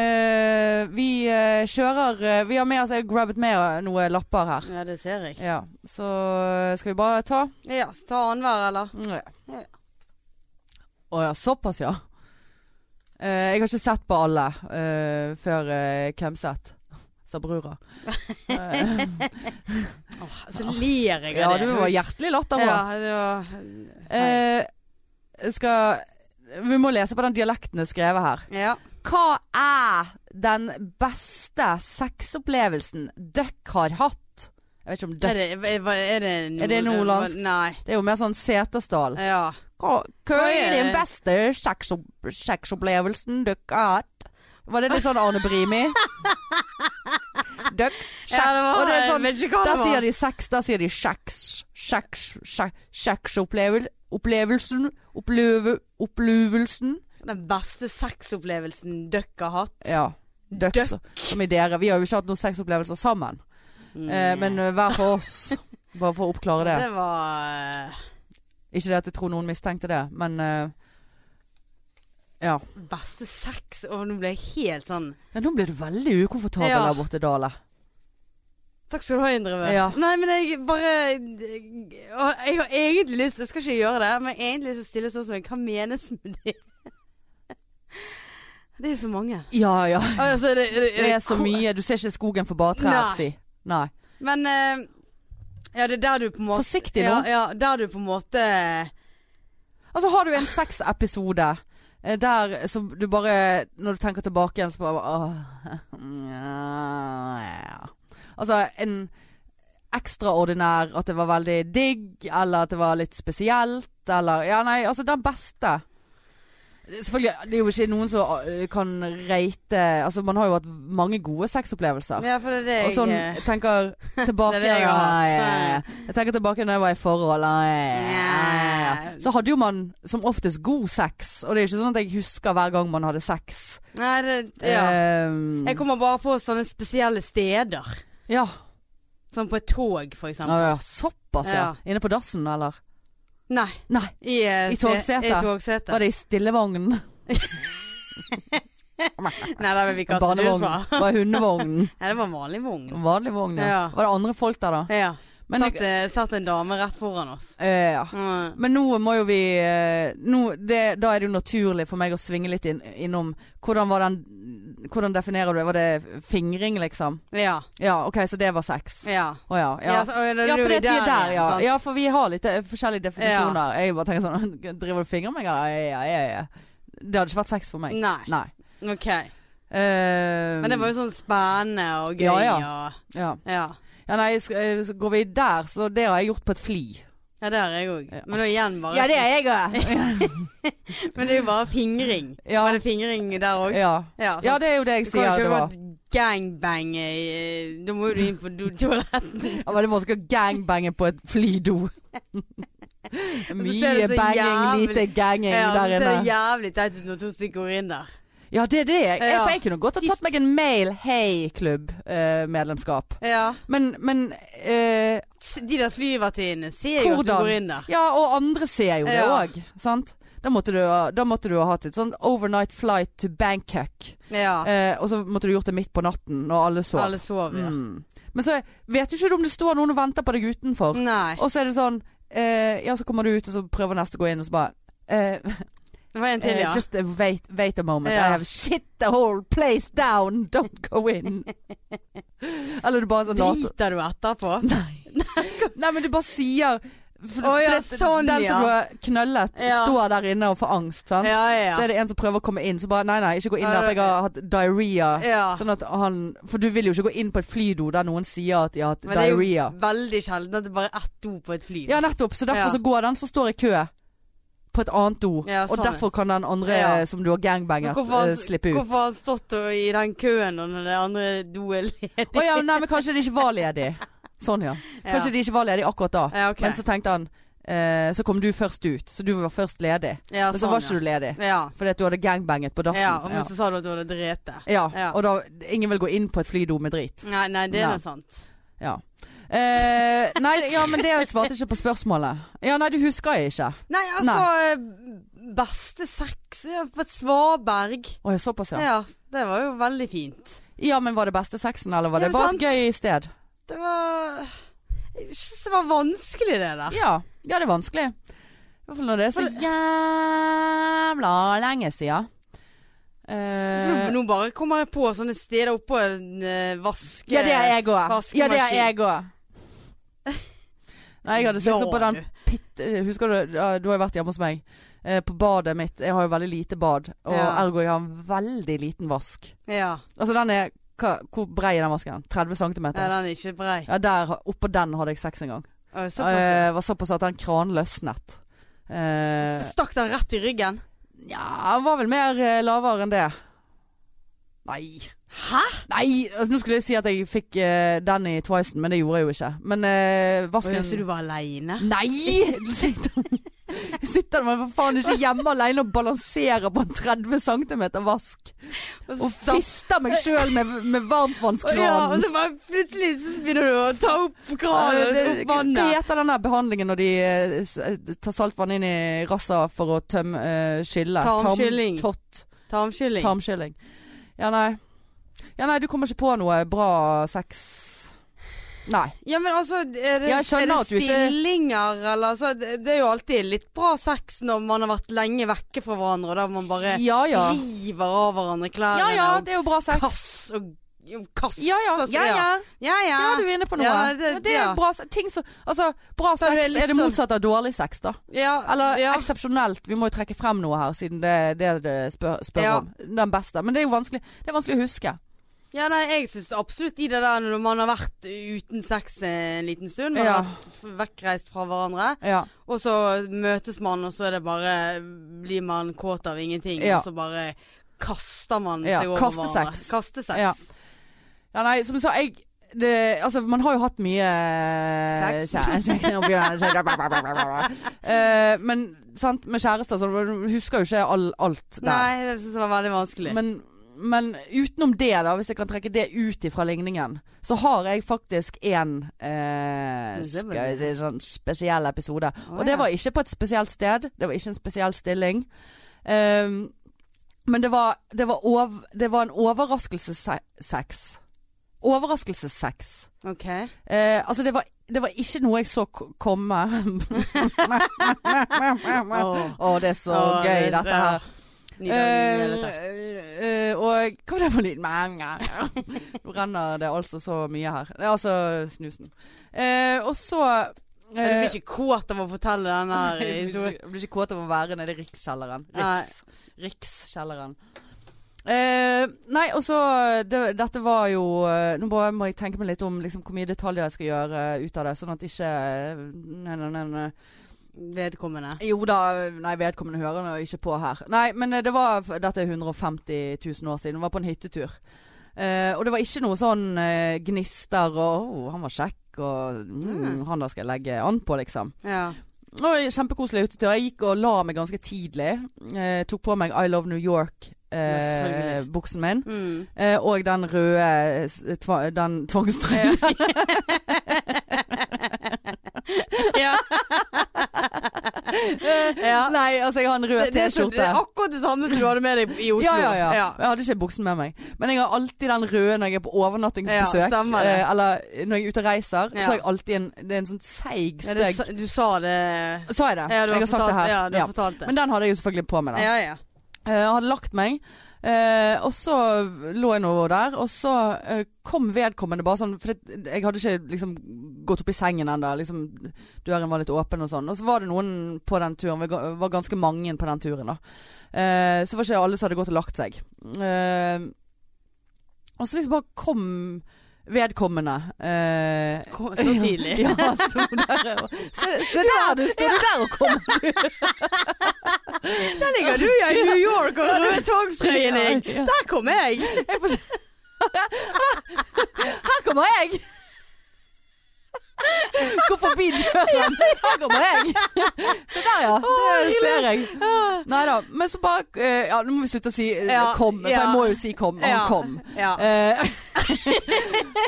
Eh, vi eh, kjører eh, Vi har med oss Jeg har grabbet med eh, noen lapper her. Ja, det ser jeg. Ja, Så eh, skal vi bare ta Ja, så ta annenhver, eller? Å ja. Ja. såpass, ja. Eh, jeg har ikke sett på alle eh, før uh, Kemset, sa brura. Eh, Åh, så ler jeg ja, av det. du var hjertelig latter nå. Ja, det var Eh, skal Vi må lese på den dialekten det er skrevet her. Ja. Hva er den beste sexopplevelsen døkk har hatt? Jeg vet ikke om Er døkk det, er, er det, nord, Er det nordlandsk? Nei. Det er jo mer sånn Setesdal. Ja. Hva, hva Hva er er den det? beste sexop- sexopplevelsen døkk har hatt? Var det litt sånn Arne Brimi? Døkk ja, det var, Og det er sånn vet ikke hva det Der var. sier de sex, der sier de sex. Sex, sex, sexopplevel- Opplevelsen oppleve, Opplevelsen Den beste sexopplevelsen dere har hatt. Ja. Døkk, Døkk. så- som i dere. Vi har jo ikke hatt noen sexopplevelser sammen. Eh, men eh, hver for oss. Bare for å oppklare det. Mm. Det var eh, Ikke det at jeg tror noen mistenkte det, men eh, ja. beste sex Og nå ble jeg helt sånn ja. Nå ble du veldig ukomfortabel Ja. der borte, Dale. Takk skal du ha, Indreve. Ja. Nei, men jeg bare og Jeg har egentlig lyst Jeg skal ikke gjøre det, men jeg har egentlig lyst til å stille spørsmål hva menes med det? Det er jo så mange. Ja ja. Altså, er det, er det, Det er så mye. Du ser ikke skogen for bare trær, Nei. si. Nei. Men eh, Ja, det er der du på en måte Forsiktig nå. ja, ja, der du på en måte Altså har du en sexepisode eh, der som du bare Når du tenker tilbake igjen, så bare åh, ja. Altså en ekstraordinær At det var veldig digg, eller at det var litt spesielt, eller Ja, nei, altså den beste. Selvfølgelig, det er jo ikke noen som eh, kan reite Altså, man har jo hatt mange gode sexopplevelser. Ja, for det er det jeg Og sånn eh, tenker tilbake Det er det jeg har hatt, ja, så- ja, ja. Jeg tenker tilbake når jeg var i forhold ja, ja, ja, ja. Så hadde jo man som oftest god sex Og det er ikke sånn at jeg husker hver gang man hadde sex Nei, det, ja. Ehm, Jeg kommer bare på sånne spesielle steder. ja. Sånn på et tog, for Ja, eksempel. ja, Såpass ja. Ja. Inne på dassen eller Nei. Nei, I, eh, I se- togsetet. I togsetet. var det i stillevognen Nei, der vil vi ikke ha Barnevogn, fra. var det hundevognen Nei, det var en vanlig vogn. Vanlig vogn, ja. Ja. Var det andre folk der da? Ja. Men, satt, eh, satt en dame rett foran oss. eh, ja. Mm. Men nå må jo vi eh, nå, det, Da er det jo naturlig for meg å svinge litt inn, innom hvordan, var den, hvordan definerer du det? Var det fingring, liksom? Ja. Ja, OK, så det var sex. Å Ja. ja. ja. så- og da Ja, er for vi det, vi er der, igjen, ja. sant? ja. For vi har litt eh, forskjellige definisjoner. Jeg bare tenker sånn Driver du fingre meg, eller? Ja, ja, ja. Det hadde ikke vært sex for meg. Nei. Nei. Ok. Eh, Mm. Men det var jo sånn spennende og gøy Ja, ja. og ja. Ja. ja, nei, sk- eh, så går vi der, så det har jeg gjort på et fly. Ja, det har jeg òg. Men da igjen bare er jeg òg. Men det er jo bare fingring. Ja. Var det fingring der òg? Ja. Ja, sant. ja, det er jo det jeg Du kan jo sier ikke det var. bare gangbang i- Da må jo du inn på do toaletten. Det var veldig vanskelig å gangbange på et flydo. ser Mye det så banging, jævlig- lite ganging Ja, så der ser det inne. jævlig teit ut når to stykker går inn der. Ja, det er det. Jeg, Ja. for jeg kunne godt ha tatt meg en mail hei-klubb-medlemskap. Ja. Men, men eh, S- De der flyvertinnene ser jo at du Hvordan? går inn der. Ja, og andre ser jo det Ja. òg, sant? Da måtte, du, ha- da måtte du ha hatt et sånn overnight flight to Bangkok. Ja. Eh, og så måtte du gjort det midt på natten når alle sov. Alle sover. Ja. Mm. Men så vet du ikke om det står noen og venter på deg utenfor. Nei. Og så er det sånn eh, Ja, så kommer du ut, og så prøver neste å gå inn, og så bare eh, Det var en til, eh, ja. Just eh, wait, wait a moment. Ja. I have shit the whole place down. Don't go in. Eller du bare sånn later. Driter du etterpå? Nei, men du bare sier for, Å ja, for det- sånn, Den ja. som du har knøllet, Ja. står der inne og får angst, sant? Ja, ja, Så ja. er det en som prøver å komme inn, så bare Nei, nei, ikke gå inn der, for jeg har hatt diaré. ja. Sånn at han For du vil jo ikke gå inn på et flydo der noen sier at de har hatt Men det er jo diaré. veldig sjelden at det bare er ett do på et fly. Ja, nettopp. Så derfor Ja. så går den som står i kø på et annet do. Ja, sånn, og ja. derfor kan den andre eh, Ja. som du har Men gangbanget, hvorfor har eh, han- slippe ut. Hvorfor har han stått og- i den køen og når det andre doet ledig? Å ja, nei, men kanskje de ikke var ledig. Sånn, ja. Kanskje de ikke var ledig akkurat da. Ja, ok. Men så tenkte han eh, Så kom du først ut, så du var først ledig. ja, Men så var ikke du ledig, ja. Ja. fordi at du hadde gangbanget på dassen. ja, og men Ja. så sa du at du hadde drept det. Ja, Ja. og da Ingen vil gå inn på et flydo med drit. Nei, nei, det er Nei. noe sant. Ja. Eh, nei, ja, men det svarte ikke på spørsmålet. Ja, nei, du husker jeg ikke. Nei, altså eh, Beste sex ja, på et svaberg. Å, ja, såpass, Ja. ja. det var jo veldig fint. Ja, men var det beste sexen, eller var Ja, det men bare sant. et gøy sted? Det var Jeg syns det var vanskelig, det der. Ja. ja, det er vanskelig. I hvert fall når det er så jævla lenge siden. Eh, For Nå bare kommer jeg på sånne steder oppå en eh, vaske... ja, det er jeg òg. vaskemaskin. Ja, det er jeg òg. Nei, jeg hadde sex Ja, opp på den du. pitt... eh, Husker du, ja, du har jo vært hjemme hos meg. Eh, På badet mitt. Jeg har jo veldig lite bad, og Ja. ergo jeg har en veldig liten vask. Ja. Altså den er hva, Hvor brei er den vasken? 30 cm? ja, den er ikke brei. Ja, der, oppå den hadde jeg sex en gang. Å, Det Såpass. ja. var såpass at den kranen løsnet. Eh, Stakk den rett i ryggen? ja, den var vel mer eh, lavere enn det. Nei. Hæ? Nei, altså, nå skulle jeg si at jeg fikk eh, den i Twicen, men det gjorde jeg jo ikke. Men eh, vasken Så du var aleine? Nei! Sitter, sitter man for faen ikke hjemme alene og balanserer på en 30 cm vask. Og fister meg sjøl med, med Ja, og varmtvannskranen. så bare plutselig så begynner du å ta opp Ja, kranen det- og opp Det vannet. heter den der behandlingen når de eh, s- eh, tar saltvann inn i rassa for å tømme eh, skylle. Tarmskylling. Tarm, tott, Tarmkylling. tarmskylling. Ja, nei. Ja, nei, du kommer ikke på noe bra sex Nei. Ja, men altså, er det, Ja, jeg er skjønner det at du ikke- stillinger, eller altså, det, det er jo alltid litt bra sex når man har vært lenge vekke fra hverandre, og da man bare Ja ja. river av hverandre klærne Ja ja, og det er jo bra sex. kass og Hun kaster Ja ja, seg ja ja. ja, ja. Ja, du er inne på noe. Ja, Ja, det, det- ja. er bra, se- ting som, altså, bra Da er sex det er, litt det sånn- motsatt av dårlig sex, da. Ja, Eller ja. eksepsjonelt. Vi må jo trekke frem noe her, siden det er det det spør, spør Ja. om. Den beste. Men det er jo vanskelig, det er vanskelig å huske. Ja, nei, jeg syns absolutt de der når man har vært uten sex en liten stund. Man Ja. har vært f- vekkreist fra hverandre. Ja. Og så møtes man, og så er det bare Blir man kåt av ingenting. Ja. Og så bare kaster man Ja, seg over kastesex. hverandre. Kastesex. Ja. Ja, nei, som jeg sa, jeg det, altså, man har jo hatt mye eh, Sex. kjæ- sex oppi hverandre. Eh, Men sant, med kjærester så man husker jo ikke all, alt der. Nei, det syns jeg var veldig vanskelig. Men, men utenom det, da, hvis jeg kan trekke det ut ifra ligningen, så har jeg faktisk én eh, Men det var skal jeg si, sånn spesiell episode. Å, Og det ja. var ikke på et spesielt sted. Det var ikke en spesiell stilling. Ehm, men det var, det var, ov, det var en overraskelsessex. Overraskelsessex. OK. Eh, altså det var, det var ikke noe jeg så k- komme. Å, Åh. det er så Åh, gøy det- dette ja. her. Nydelig, nydelig, dette. Eh, eh, og hva var det for lyd? Mæ, mæ, mæ. Nå renner det altså så mye her. Det er altså snusen. Eh, og så Men Du blir eh, ikke kåt av å fortelle denne her jeg blir historien. ikke- jeg blir ikke kåt av å være nede i Rikskjelleren. Nei. Riks, Rikskjelleren. Eh, nei, og så det, Dette var jo eh, Nå bare må jeg tenke meg litt om liksom, hvor mye detaljer jeg skal gjøre eh, ut av det, sånn at ikke eh, nei, nei, nei, nei. Vedkommende. Jo da, nei, vedkommende hører nå ikke på her. Nei, men eh, det var Dette er 150 000 år siden. Det var på en hyttetur. Eh, og det var ikke noe sånn eh, gnister og oh, 'Han var kjekk', og mm, 'Han der skal jeg legge an på', liksom. Ja. Oi, kjempekoselig utetur. Jeg gikk og la meg ganske tidlig. Eh, tok på meg I Love New Ja, selvfølgelig. York-buksen min. Mm. Eh, og den røde eh, s- tva, den tvangstrøya. ja. ja. Nei, altså jeg har en rød Det, det, er så- det T-skjorte. er akkurat det samme som du hadde med deg i Oslo. Ja, ja, ja, Jeg hadde ikke buksen med meg. Men jeg har alltid den røde når jeg er på Ja, overnattingsbesøk. stemmer det. eh, eller når jeg er ute og reiser. Ja. Så har jeg alltid en, det er en sånn seig, Ja, det, stygg sa- du sa det Sa jeg det? Ja, du jeg har sagt fortalt, det her. Ja, du har Ja. fortalt det. Men den hadde jeg jo selvfølgelig på meg, da. ja, ja. Eh, Jeg hadde lagt meg, eh, og så lå jeg nå der, og så eh, kom vedkommende bare sånn For det, jeg hadde ikke liksom gått opp i sengen ennå, liksom, døren var litt åpen og sånn. Og så var det noen på den turen, vi ga- var ganske mange på den turen, da. Eh, Så var ikke alle som hadde gått og lagt seg. Eh, Og så liksom bare kom vedkommende. eh, Kom, så tidlig. ja, sto der og Se, se der du står du der og kommer, du. Der ligger du, ja, i New York og røde tvangstrøyen jeg. Ja, ja. Der kom jeg! Jeg får... Her kommer jeg! Gå forbi døren. Her kommer jeg. Se der, ja. Det ser jeg. Nei da. Men så bare eh, Ja, nå må vi slutte å si eh, Ja, 'kom', for ja. jeg må jo si 'kom'. og Ja. Han kom. Ja. Eh,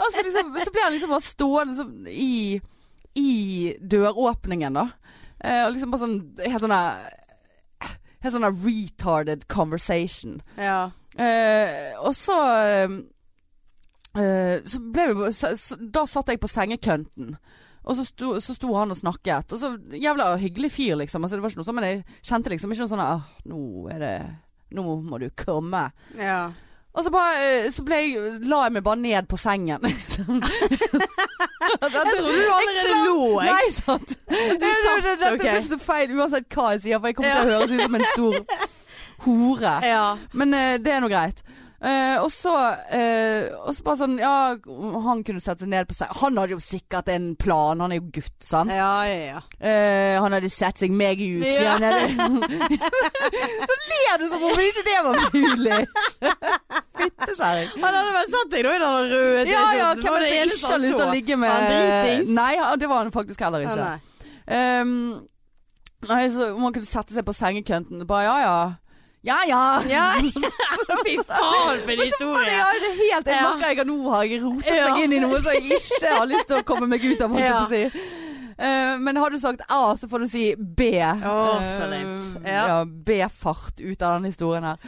altså liksom, så blir han liksom bare stående sånn i, i døråpningen, da. Eh, og liksom bare sånn Helt sånn der Helt sånn der retarded conversation. ja. Eh, og så eh, så ble vi, så, så, Da satt jeg på sengekønten. Og så sto, så sto han og snakket. Og så Jævla hyggelig fyr, liksom. Altså, det var ikke noe sånn, men jeg kjente liksom ikke noe sånn ah, nå, er det, nå må du komme. ja. Og så, bare, eh, så ble jeg, la jeg meg bare ned på sengen. Jeg trodde du allerede lå, jeg. Nei, sant. Du Nei, satt, det- det- Dette ok. blir så feil uansett hva jeg sier, for jeg kommer Ja. til å høres ut som en stor hore. Ja. Men eh, det er nå greit. Eh, og så eh, Og så bare sånn Ja, han kunne sette seg ned på seg Han hadde jo sikkert en plan. Han er jo gutt, sant. Ja, ja, ja. Eh, han hadde sett seg meg ut. Ja. Ja. så ler du som om ikke det var mulig. Fittekjerring. Han hadde vel sett deg da i den røde Ja ja, T-skjorten. hvem er det som ikke sånn sånn har lyst til å ligge med Han dritings. Nei, ja, det var han faktisk heller ikke. Ja, nei. Ehm, nei, så man kunne sette seg på sengekønten. Bare ja ja. Ja ja. Ja, fy faen for en Men historie. jeg har det helt Jeg Ja. merker jeg at nå har jeg rotet Ja. meg inn i noe som jeg ikke har lyst til å komme meg ut av. holdt jeg Ja. på å Si. Eh, men har du sagt A, så får du si B. Å, så lame. Eh, Ja. ja, B-fart ut av denne historien her.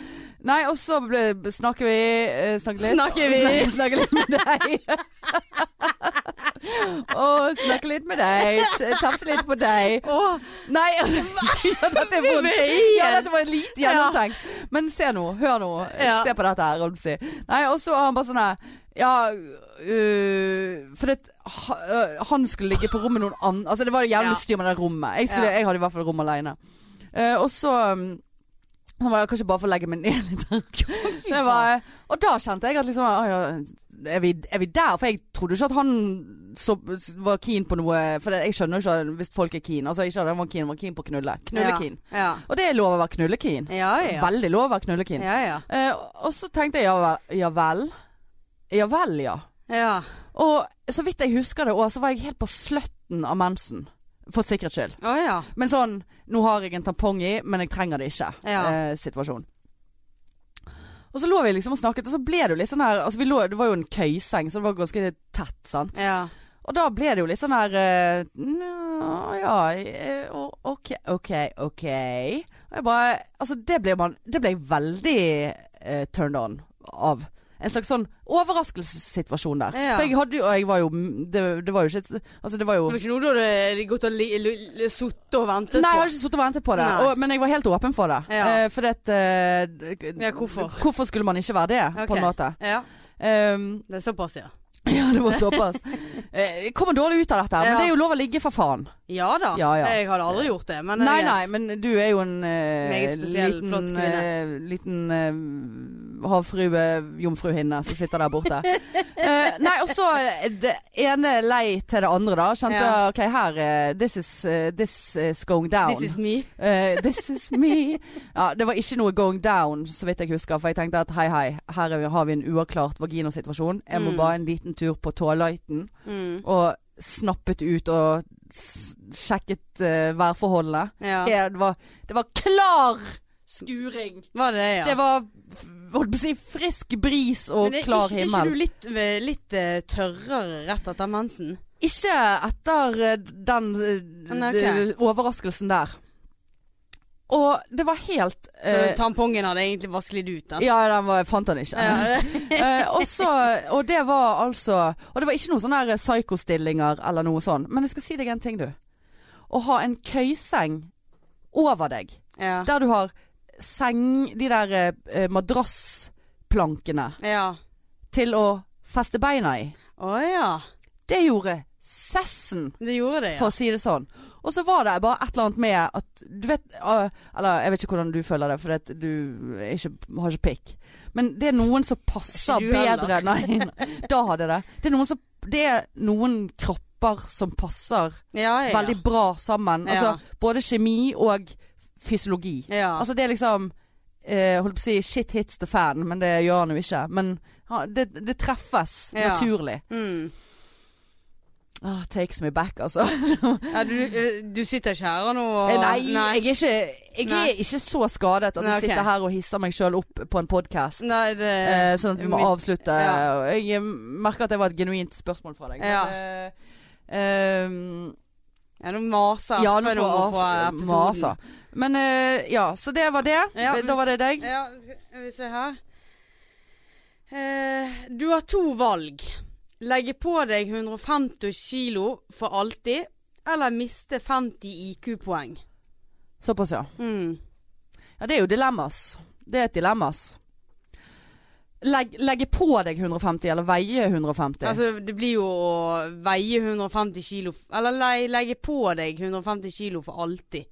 Nei, og så ble, snakker vi eh, Snakker litt. Snakker vi. Snak- Snakker litt med deg. og snakker litt med deg. T- Tafser litt på deg. Åh, Nei, altså, ja, dette er vondt. Ja, dette var lite gjennomtenkt. Men se nå, hør nå. Ja. Se på dette her, holdt jeg på å si. Nei, og så har han bare sånn her Ja, øh, for det, ha- øh, han skulle ligge på rommet noen andre Altså, det var Ja. jævlig styr med det rommet. Jeg, skulle, Ja. jeg hadde i hvert fall rom alene. Eh, og så um, Han var kanskje bare for å legge meg ned litt. Det var, og da kjente jeg at liksom «Å ja, er, vi, er vi der? For jeg trodde ikke at han så, var keen på noe For det, jeg skjønner jo ikke hvis folk er keen. Altså ikke at han var keen, han var keen på å knulle. Knullekeen. Ja. Og det er lov å være knullekeen. Ja, ja. Veldig lov å være knullekeen. Ja, ja. Eh, og så tenkte jeg ja vel. Ja vel, ja. Vel, ja. ja. Og så vidt jeg husker det òg, så var jeg helt på slutten av mensen. For sikkerhets skyld. Å ja. Men sånn, nå har jeg en tampong i, men jeg trenger det ikke. Ja. Eh, situasjon. Og så lå vi liksom og snakket, og så ble det jo litt sånn her altså vi lå, Det var jo en køyseng, så det var ganske tett, sant. Ja. Og da ble det jo litt sånn her eh, «Nja, Ja, eh, o- ok, ok, ok. Og jeg bare Altså, det ble man Det ble jeg veldig eh, turned on av. En slags sånn overraskelsessituasjon der. Ja. For jeg hadde jo Og jeg var jo Det, det var jo ikke et- Altså, det var jo Det var ikke noe du hadde gått og li- li- li- sittet og ventet Nei, jeg på? har ikke sittet og ventet på det. Nei. Og, men jeg var helt åpen for det. Ja. Eh, fordi at eh, Ja, hvorfor? Hvorfor skulle man ikke være det, på Ok. en måte? Ja, Ehm, det er såpass, ja. ja, det var såpass. Eh, Jeg kommer dårlig ut av dette, Ja. men det er jo lov å ligge, for faen. Ja da. Ja, ja. Jeg hadde aldri gjort det. Men det er Nei, greit. nei, men du er jo en eh, Meget spesiell, liten, flott kvinne. eh, liten eh, havfrue, jomfruhinne som sitter der borte. Eh, nei, og så det ene lei til det andre, da. Kjente Ja. OK, her eh, This is, eh, this is going down. This is me. Eh, this is me. Ja, det var ikke noe going down, så vidt jeg husker. For jeg tenkte at hei, hei, her er vi, har vi en uavklart vaginasituasjon. Jeg må Mm. bare en liten tur på toaletten Mm. og snappet ut og s sjekket eh, værforholdene. Ja. Ja, Det, var, det var klar skuring. Var det det, ja? Det var f- holdt på å si frisk bris og Men er klar ikke, himmel. Er ikke du litt, eh, litt eh, tørrere rett etter mensen? Ikke etter eh, den eh, Men ok. eh, overraskelsen der. Og det var helt Så eh, tampongen hadde egentlig vasket litt ut altså. den? Ja, den var, jeg fant den ikke. Eh, og, så- og det var altså Og det var ikke noen sånne her psykostillinger eller noe sånt. Men jeg skal si deg en ting, du. Å ha en køyseng over deg, Ja. der du har seng De der eh, eh, madrassplankene ja. til å feste beina i. Å ja. Det gjorde sessen, Det gjorde det, ja. for å si det sånn. Og så var det bare et eller annet med at Du vet eh, Eller jeg vet ikke hvordan du føler det, for det, at du er ikke, har ikke pikk. Men det er noen som passer Ikke du bedre Nei, da hadde jeg det. Det er noen, som, det er noen kropper som passer ja, ja. veldig bra sammen. Ja. Altså, både kjemi og fysiologi. ja. Altså det er liksom eh, Holdt på å si shit hits the fan, men det gjør han jo ikke. Men ha- det, det treffes Ja. naturlig. mm. Ah, takes me back, altså. ja du, eh, du sitter ikke her og nå og Eh, Nei, jeg er ikke, jeg Nei. er ikke så skadet at jeg Nei, ok. sitter her og hisser meg sjøl opp på en podkast. Nei, det Eh, sånn at vi må mitt- avslutte. Mm. ja. Jeg eh, merker at det var et genuint spørsmål fra deg. men, Ja. eh, ehm, Ja, nå maser ja, Spør nå om å får få jeg episoden. mase. Men eh, ja, så det var det. Eh, Ja, men- da var det deg. Ja, skal vi se her. Eh, du har to valg. Legge på deg 150 kilo for alltid, eller miste 50 IQ-poeng. Såpass, ja. Mm. ja. Det er jo dilemmas. Det er et dilemmas. Legg, legge på deg 150, eller veie 150. Altså, det blir jo å veie 150 kilo f- Eller le legge på deg 150 kilo for alltid.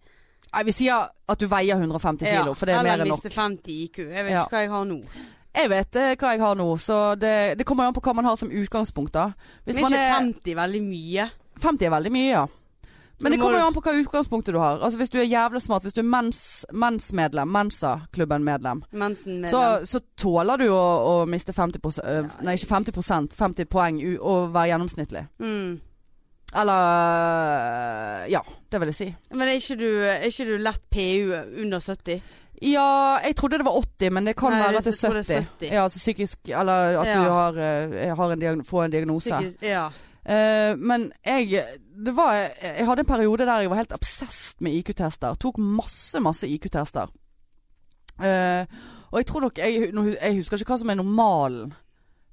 Nei, vi sier at du veier 150 kilo, for det er eller mer enn nok. miste 50 IQ. Jeg vet Ja. ikke hva jeg har nå. Jeg vet eh, hva jeg har nå, så det, det kommer jo an på hva man har som utgangspunkt, da. Hvis Men man ikke er 50 veldig mye? 50 er veldig mye, ja. Men Så det må kommer du- jo an på hva utgangspunktet du har. Altså Hvis du er jævla smart, hvis du er mens, mensmedlem, Mensa-klubben-medlem, Mensen med så, så tåler du å, å miste 50 eh, Nei, ikke 50 50 poeng u- og være gjennomsnittlig. Mm. Eller Ja, det vil jeg si. Men er ikke, du, er ikke du lett PU under 70? Ja, jeg trodde det var 80, men det kan Nei, være det- at det jeg tror er det 70. er 70. Ja, altså psykisk Eller at Ja. du har, eh, har en diagn får en diagnose. Sikkert- Ja. Eh, men jeg det var, Jeg hadde en periode der jeg var helt obsesst med IQ-tester. Tok masse, masse IQ-tester. Eh, og jeg tror nok jeg, nå hu- jeg husker ikke hva som er normalen.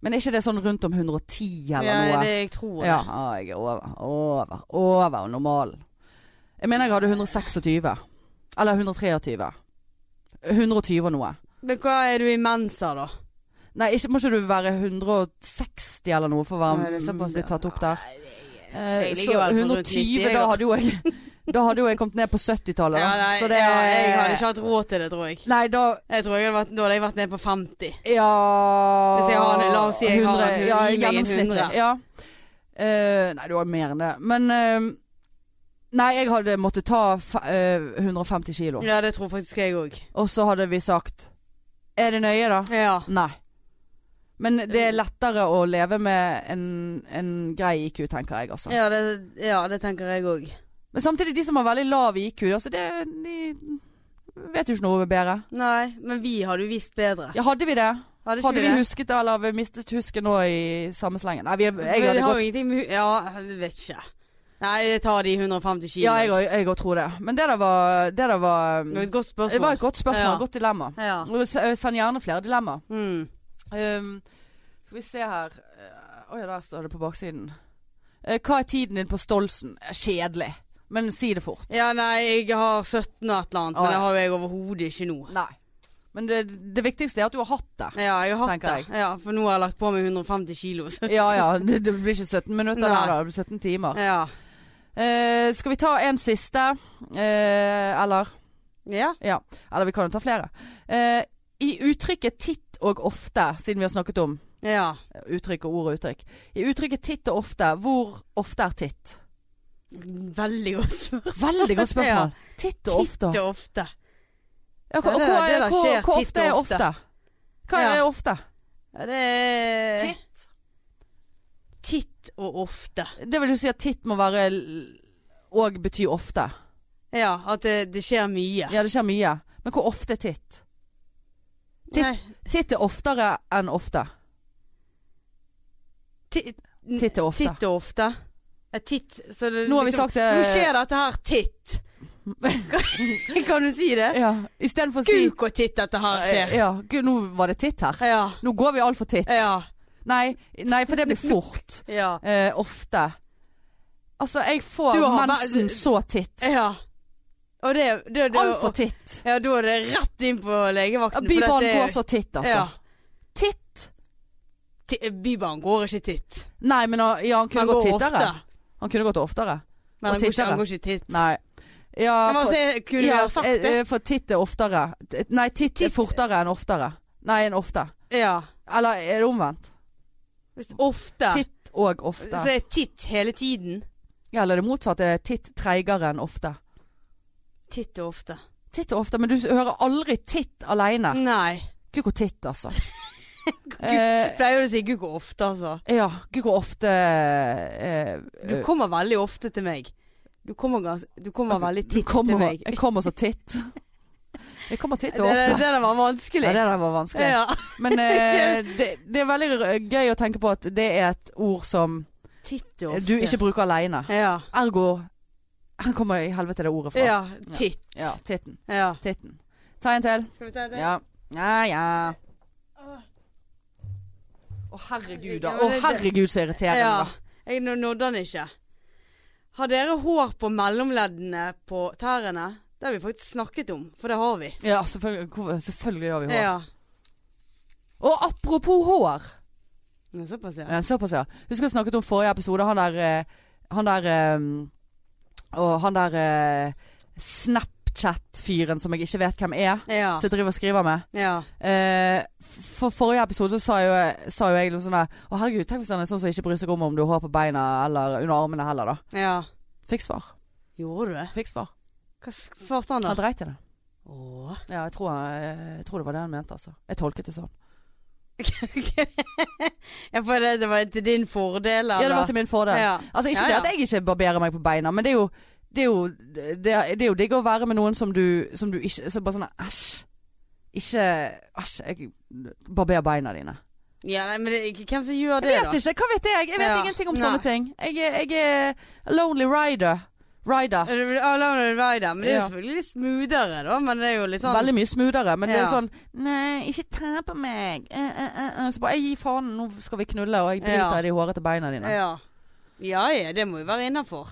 Men er ikke det sånn rundt om 110 eller ja, noe? det jeg tror det. Ja, å, jeg er over, over, over normalen. Jeg mener jeg hadde 126. Eller 123. 120 og noe. Men hva er du i mensa, da? Nei, ikke, må ikke du være 160 eller noe for å Nei, være det er såpass, bli ja. tatt opp der? Eh, Jeg så ligger vel på rundt 120, 90, da jeg hadde jo jeg Da hadde jo jeg kommet ned på 70-tallet. da. Ja, nei, så det ja, jeg hadde ikke hatt råd til det, tror jeg. Nei, da Jeg tror jeg hadde vært, Da hadde jeg vært nede på 50. Ja Hvis jeg har en- la oss si jeg har en hund, ja, gi meg en gjennomsnittlig, hundre. Ja. Eh, nei, du har mer enn det. Men eh, Nei, jeg hadde måttet ta fa- eh, 150 kilo. Ja, det tror faktisk jeg òg. Og så hadde vi sagt Er det nøye, da? Ja. Nei. Men det er lettere å leve med en, en grei IQ, tenker jeg, altså. Ja, det, ja, det tenker jeg òg. Men samtidig, de som har veldig lav IQ, altså det De vet jo ikke noe bedre. Nei, men vi hadde jo visst bedre. Ja, hadde vi det? Hadde ikke Hadde vi det? husket det, eller har vi mistet husket nå i samme slengen? Nei, vi, jeg Men hadde det har gått jo ingenting med hu- Ja, jeg vet ikke. Nei, jeg tar de 150 kilo. Ja, jeg òg- jeg òg tror det. Men det der var Det der var Det var Det et godt spørsmål. var et godt spørsmål. Ja. Et godt dilemma. Ja. S- Send gjerne flere dilemmaer. Mm. Um, skal vi se her Eh, Oi, der står det på baksiden. Eh, hva er tiden din på Stolsen? Eh, Kjedelig. Men si det fort. ja, nei, jeg har 17 og et eller annet, Å, ja. men det har jo jeg overhodet ikke nå. Nei. Men det, det viktigste er at du har hatt det. Ja, jeg har hatt Tenker jeg. det. Ja, for nå har jeg lagt på meg 150 kilo. Så. Ja ja, det, det blir ikke 17 minutter Nei. der, da. Det blir 17 timer. Ja. Eh, skal vi ta en siste? Eh, eller? ja. Ja. Eller vi kan jo ta flere. Eh, I uttrykket titt og ofte, siden vi har snakket om Ja. uttrykk og ord og uttrykk. I uttrykket titt og ofte, hvor ofte er titt? Veldig godt spørsmål. Veldig godt spørsmål. Titt og ofte. Titt og ofte. Ja, hva, Ja, hva, det- det er, der hva, skjer hva titt ofte og er ofte. ofte? Hva Ja. er ofte? Ja, det er Titt. Titt og ofte. Eh, Det vil jo si at titt må være l- og bety ofte. Ja, at det, det skjer mye. Ja, det skjer mye. Men hvor ofte er titt? Titt. Nei, Titt er oftere enn ofte. titt, Titt er ofte. Titt og ofte. Ja, titt, så det, liksom- Nå har vi sagt det- Nå skjer dette her titt. Kan, kan du si det? Ja, istedenfor å si Kuk og titt dette her skjer. ja, gud, nå var det titt her. Ja. Nå går vi altfor titt. Ja. Nei, nei, for det blir fort. Ja. Eh, ofte. Altså, jeg får Du har- mensen så titt. ja. Og det, det, det Altfor titt. Ja, da er det rett inn på Ja, legevakten. for Bybanen dette- går så titt, altså. Ja. Titt? Ti- Bybanen går ikke titt. Nei, men han- ja, han kunne Den gått går tittere. ofte. Han kunne gått oftere. Men Og han går, ikke, tittere. han går ikke titt. Nei. Ja, Men for- altså, jeg kunne ja, ha sagt det. eh, eh, for titt er oftere. T- Nei, titt, er Titt- fortere enn oftere. Nei, enn ofte. Ja. Eller er det omvendt? Hvis ofte. Titt og Så ofte. er titt hele tiden. Ja, eller det motsatte. Det er titt treigere enn ofte. Titt og ofte. Titt og ofte, men du hører aldri titt alene. Nei. Gud, hvor titt, altså. Jeg eh, pleier å si gud hvor ofte, altså. ja, gud, hvor ofte eh, Du kommer veldig ofte til meg. Du kommer, gans, du kommer veldig Du titt kommer- til meg. Jeg kommer så titt. Jeg kommer titt Det, og det, ofte. der var Ja, vanskelig. det der var vanskelig. Ja. Men eh, det, det er veldig r- gøy å tenke på at det er et ord som Titt og ofte. du ikke bruker aleine. Ja. Ergo Her kommer i helvete det ordet fra. ja. Titt. Ja, titten. Ja. Titten. Ta en til. Skal vi ta det? Ja. Ja, ja. Å herregud, da. Å herregud så irriterende. Ja. da. Jeg nå- nådde den ikke. Har dere hår på mellomleddene på tærne? Det har vi faktisk snakket om, for det har vi. Ja, selvfølgelig, hvor- selvfølgelig har vi hår. Ja. Og apropos hår. Men Såpass, ja. Ja, såpass, ja. Husker jeg snakket om forrige episode. Han der eh, Han der eh, Og han der eh, Snapchat-fyren som jeg ikke vet hvem er. Ja. Som jeg driver og skriver med. ja. Eh, for forrige episode så sa jo, sa jo jeg litt sånn der Å herregud, tenk hvis han er sånn som ikke bryr seg om om du har hår på beina eller under armene heller, da. ja. Fikk svar. Gjorde du det? Fikk svar. Hva s- svarte han Han da? dreit i det. Åh. Ja, jeg tror, han- jeg tror det var det han mente, altså. Jeg tolket det sånn. Ja, for det, det var til din fordel, eller? Ja, det var til min fordel. Ja. Altså ikke Ja, det ja. at jeg ikke barberer meg på beina, men det er jo det er jo, det er, det er jo digg å være med noen som du, som du ikke så Bare sånn æsj. Ikke Æsj, jeg barberer beina dine. Ja, nei, men det, hvem som Jeg gjør det, vet da? ikke. Hva vet jeg? Jeg vet Ja. ingenting om Nei. sånne ting. Jeg, er- jeg er lonely rider. Rider. Alone and Rider. Men det er jo Ja. selvfølgelig litt smoothere, da. Men det er jo litt sånn Veldig mye smoothere, men det er jo Ja. sånn Nei, ikke ta på meg. Eh, eh, eh, eh. Så bare jeg gir faen, nå skal vi knulle, og jeg driter Ja. i de hårete beina dine. Ja. ja. ja ja, det må jo være innafor.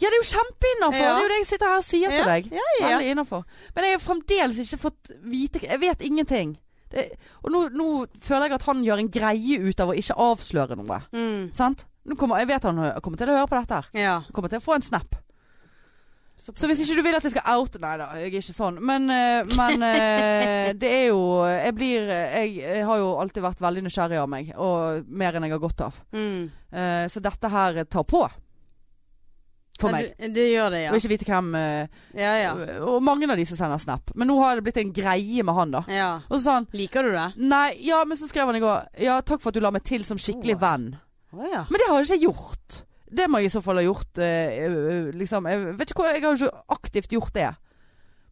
det er jo kjempeinnafor! Ja. Det er jo det jeg sitter her og sier Ja, til deg. ja, ja. Veldig innafor. Men jeg har fremdeles ikke fått vite Jeg vet ingenting. Det, og nå, nå føler jeg at han gjør en greie ut av å ikke avsløre noe. Mm. Sant? Nå kommer, jeg vet han hø- kommer til å høre på dette her. Ja. Jeg kommer til å få en snap. Så- Så hvis ikke du vil at jeg skal out Nei da, jeg er ikke sånn. Men, eh, men eh, det er jo jeg, blir, eh, jeg, jeg har jo alltid vært veldig nysgjerrig av meg, og mer enn jeg har godt av. Mm. Eh, Så dette her tar på. For Ja, meg. du- Det gjør det, ja. Og ikke vite hvem eh, Ja ja. Og mange av de som sender snap. Men nå har det blitt en greie med han, da. ja. Og så sa han Liker du det? Nei, ja, men så skrev han i går Ja, takk for at du la meg til som skikkelig venn. Å ja. Men det har jeg ikke gjort. Det må jeg i så fall ha gjort. eh, eh, liksom. Jeg vet ikke hva, jeg har jo ikke aktivt gjort det.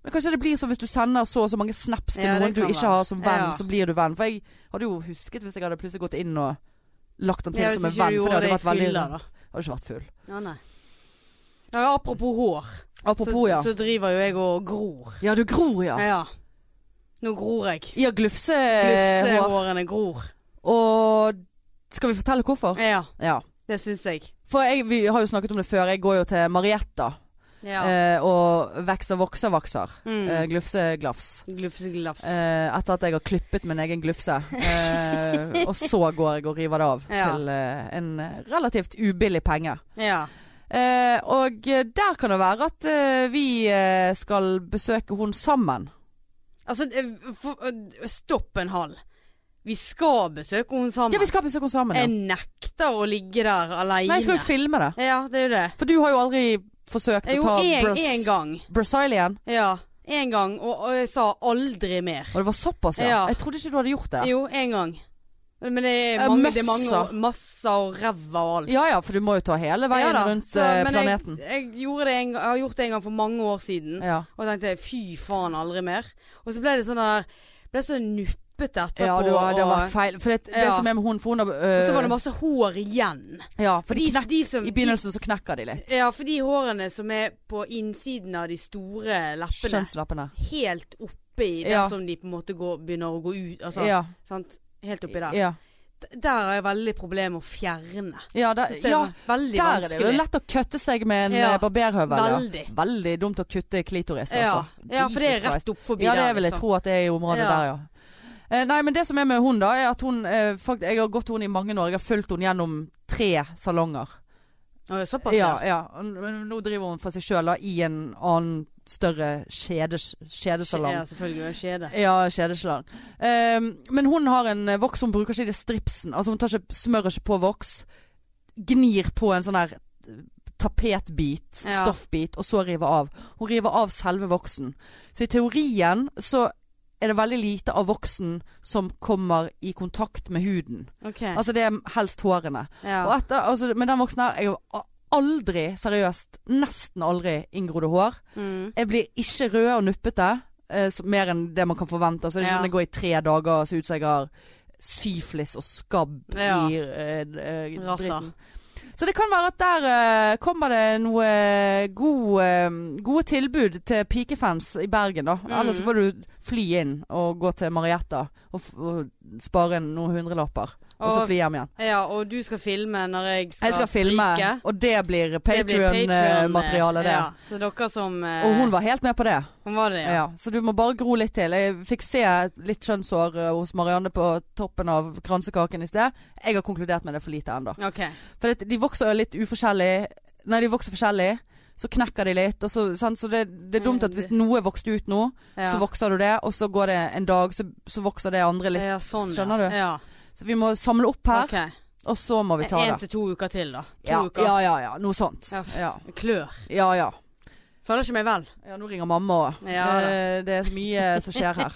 Men kanskje det blir sånn hvis du sender så og så mange snaps til Ja, det noen du kan ikke være. har som venn, Ja. så blir du venn. For jeg hadde jo husket hvis jeg hadde plutselig gått inn og lagt han til ja hvis som en ikke venn. du For det gjorde hadde det i vært veldig fylla, da. Jeg Hadde ikke vært full. Ja, nei. Ja, apropos hår, Apropos, så, Eh. ja. så driver jo jeg og gror. Ja, du gror, ja. Ja. Nå gror jeg. Ja, glufse, glufsehår. Glufsehårene Eh, gror. Og skal vi fortelle hvorfor? Ja, Ja. det syns jeg. For jeg, vi har jo snakket om det før. Jeg går jo til Marietta. Ja. eh, og vokser, vokser, vokser. Mm. Eh, glufseglafs. Glufseglafs. Eh, etter at jeg har klippet min egen glufse. Eh, og så går jeg og river det av Ja. til eh, en relativt ubillig penge. ja. Eh, og der kan det være at eh, vi eh, skal besøke hun sammen. Altså, eh, for, eh, stopp en halv. Vi skal besøke hun sammen. Ja, vi skal besøke hun sammen. Ja. Jeg nekter å ligge der Nei, aleine. jeg skal jo filme det. Ja, det er jo det. For du har jo aldri forsøkt Jo, å ta en, Bras- en gang. Brazilian. Ja. En gang, og, og jeg sa aldri mer. Og det var såpass, ja. Ja. Jeg trodde ikke du hadde gjort det. Jo, en gang. Men det er Eh, mange, det er mange masser. og, masser og ræva og alt. Ja ja, for du må jo ta hele veien Ja da, rundt så- eh, men planeten. Jeg, jeg, gjorde det en, gang- jeg har gjort det en gang for mange år siden. Ja. Og tenkte fy faen, aldri mer. Og så ble det sånn der Ble så nuppete etterpå. ja, du har, det har og- vært feil. For det, det Ja. som er med hun, for hun har og øh, så var det masse hår igjen. Ja, for de de, knek, de som, i begynnelsen så knekker de litt. de, Ja, for de hårene som er på innsiden av de store leppene. Kjønnslappene. Helt oppe i der Ja. som de på en måte går, begynner å gå ut. Altså, Ja. sant? Helt oppi der. Ja. D- Der har jeg veldig problem med å fjerne. Ja, der, Synes det er ja, veldig der er det jo vanskelig. lett å kutte seg med en Ja. eh, barberhøvel. ja. Veldig. Veldig dumt å kutte klitoris, Ja, altså. ja, for det er Jesus Christ. rett opp forbi Ja, der. det vil jeg liksom. tro at det er i området Ja. der, ja. Eh, nei, men det som er med hun, da, er at hun eh, fakt, Jeg har gått hun i mange år. Jeg har fulgt hun gjennom tre salonger. Å, Såpass, Ja, ja. og n- Men nå driver hun for seg sjøl, da, i en annen større kjedes, kjedesalong. Ja, selvfølgelig. En kjede. Ja, kjedeslang. Ehm, men hun har en eh, voks, hun bruker ikke det stripsen. Altså hun tar ikke, smører ikke på voks. Gnir på en sånn her eh, tapetbit, Ja. stoffbit, og så river av. Hun river av selve voksen. Så i teorien så er det veldig lite av voksen som kommer i kontakt med huden. Ok. Altså det er helst hårene. Og ja. etter, altså, med den voksen her, jeg har aldri, seriøst, nesten aldri inngrodde hår. Mm. Jeg blir ikke rød og nuppete. eh, så- mer enn det man kan forvente. Så det er ikke Ja. sånn at jeg går i tre dager og ser ut som jeg har syflis og skabb Ja. i eh, eh, Rassa. dritten. Så det kan være at der eh, kommer det noe god, eh, gode tilbud til pikefans i Bergen, da. Mm. Eller så får du fly inn og gå til Marietta og, f og spare inn noen hundrelapper. Og, så Og- fly hjem igjen. ja, og du skal filme når jeg skal, Jeg skal filme, stryke. og det blir Det blir Patreon, eh, Patrion-materiale, det. Ja, så dere som eh, Og hun var helt med på det. hun var det, Ja. ja. så du må bare gro litt til. Jeg fikk se litt kjønnshår eh, hos Marianne på toppen av kransekaken i sted. Jeg har konkludert med det for lite ennå. Ok. For det, de vokser jo litt uforskjellig. Nei, de vokser forskjellig. Så knekker de litt. Og så, sant? så det, det er dumt at hvis noe er vokst ut nå, Mm. Ja. så vokser du det. Og så går det en dag, så, så vokser det andre litt. ja, sånn, skjønner du? Ja. Så vi må samle opp her, Ok. og så må vi ta En det. til to uker til, da. To Ja, uker. ja, ja, ja. Noe sånt. Ja. Ja. Klør. ja, ja. Føler ikke meg vel. Ja, nå ringer mamma òg. Ja, da. Eh, det er mye som skjer her.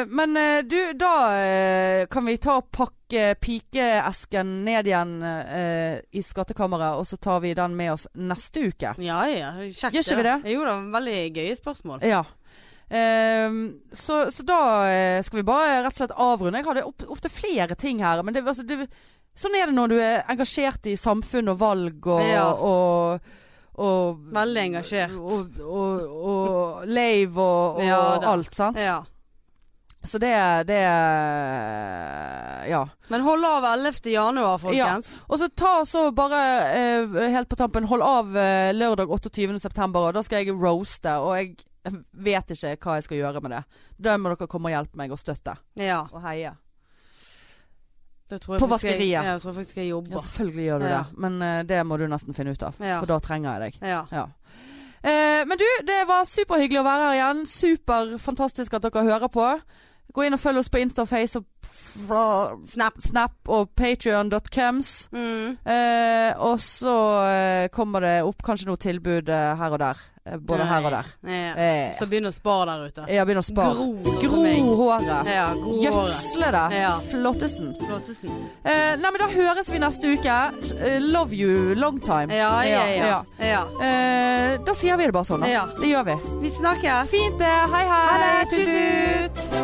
Eh, men eh, du, da eh, kan vi ta og pakke pikeesken ned igjen eh, i skattkammeret, og så tar vi den med oss neste uke. Ja ja, kjekt. Gjør ikke vi da. det? Jo da, veldig gøye spørsmål. Ja. Eh, så, så da eh, skal vi bare rett og slett avrunde. Jeg hadde opp- opptil flere ting her. Men det, altså, det, sånn er det når du er engasjert i samfunn og valg og, Ja. og, og, og Veldig engasjert. Og, og, og lave og, og Ja, da. alt, sant? Ja. Så det, det Ja. Men hold av 11. januar, folkens. Og så ta så bare eh, helt på tampen Hold av eh, lørdag 28. september Og da skal jeg roaste Og jeg vet ikke hva jeg skal gjøre med det Da må dere komme og hjelpe meg og støtte Ja. Og heie Da tror jeg På faktisk jeg- vaskeriet. Ja, jeg tror faktisk jeg Ja, jobber. selvfølgelig gjør du Ja. det Men eh, det må du nesten finne ut av Ja. For da trenger jeg deg Ja. ja. Eh, men du, det var superhyggelig å være her igjen. Superfantastisk at dere hører på. Gå inn og følg oss på Insta og Face og fra- Snap. Snap og patrion.coms. Mm. Eh, og så eh, kommer det opp kanskje noe tilbud eh, her og der. Eh, både Nei. her og der. Ja. Eh, Så begynn å spare der ute. ja, begynn å spare. Gro, sånn Gro som meg. håret. Ja, gro håret. Gjødsle det. Ja. Flottesen. Flottesen. Eh, nei, men da høres vi neste uke. Eh, love you long time. Ja, ja, ja. ja. Eh, da sier vi det bare sånn, da. Ja. Det gjør vi. Vi snakkes. Fint det. Hei, hei. Ha det. Tut, tut. Tut-tut.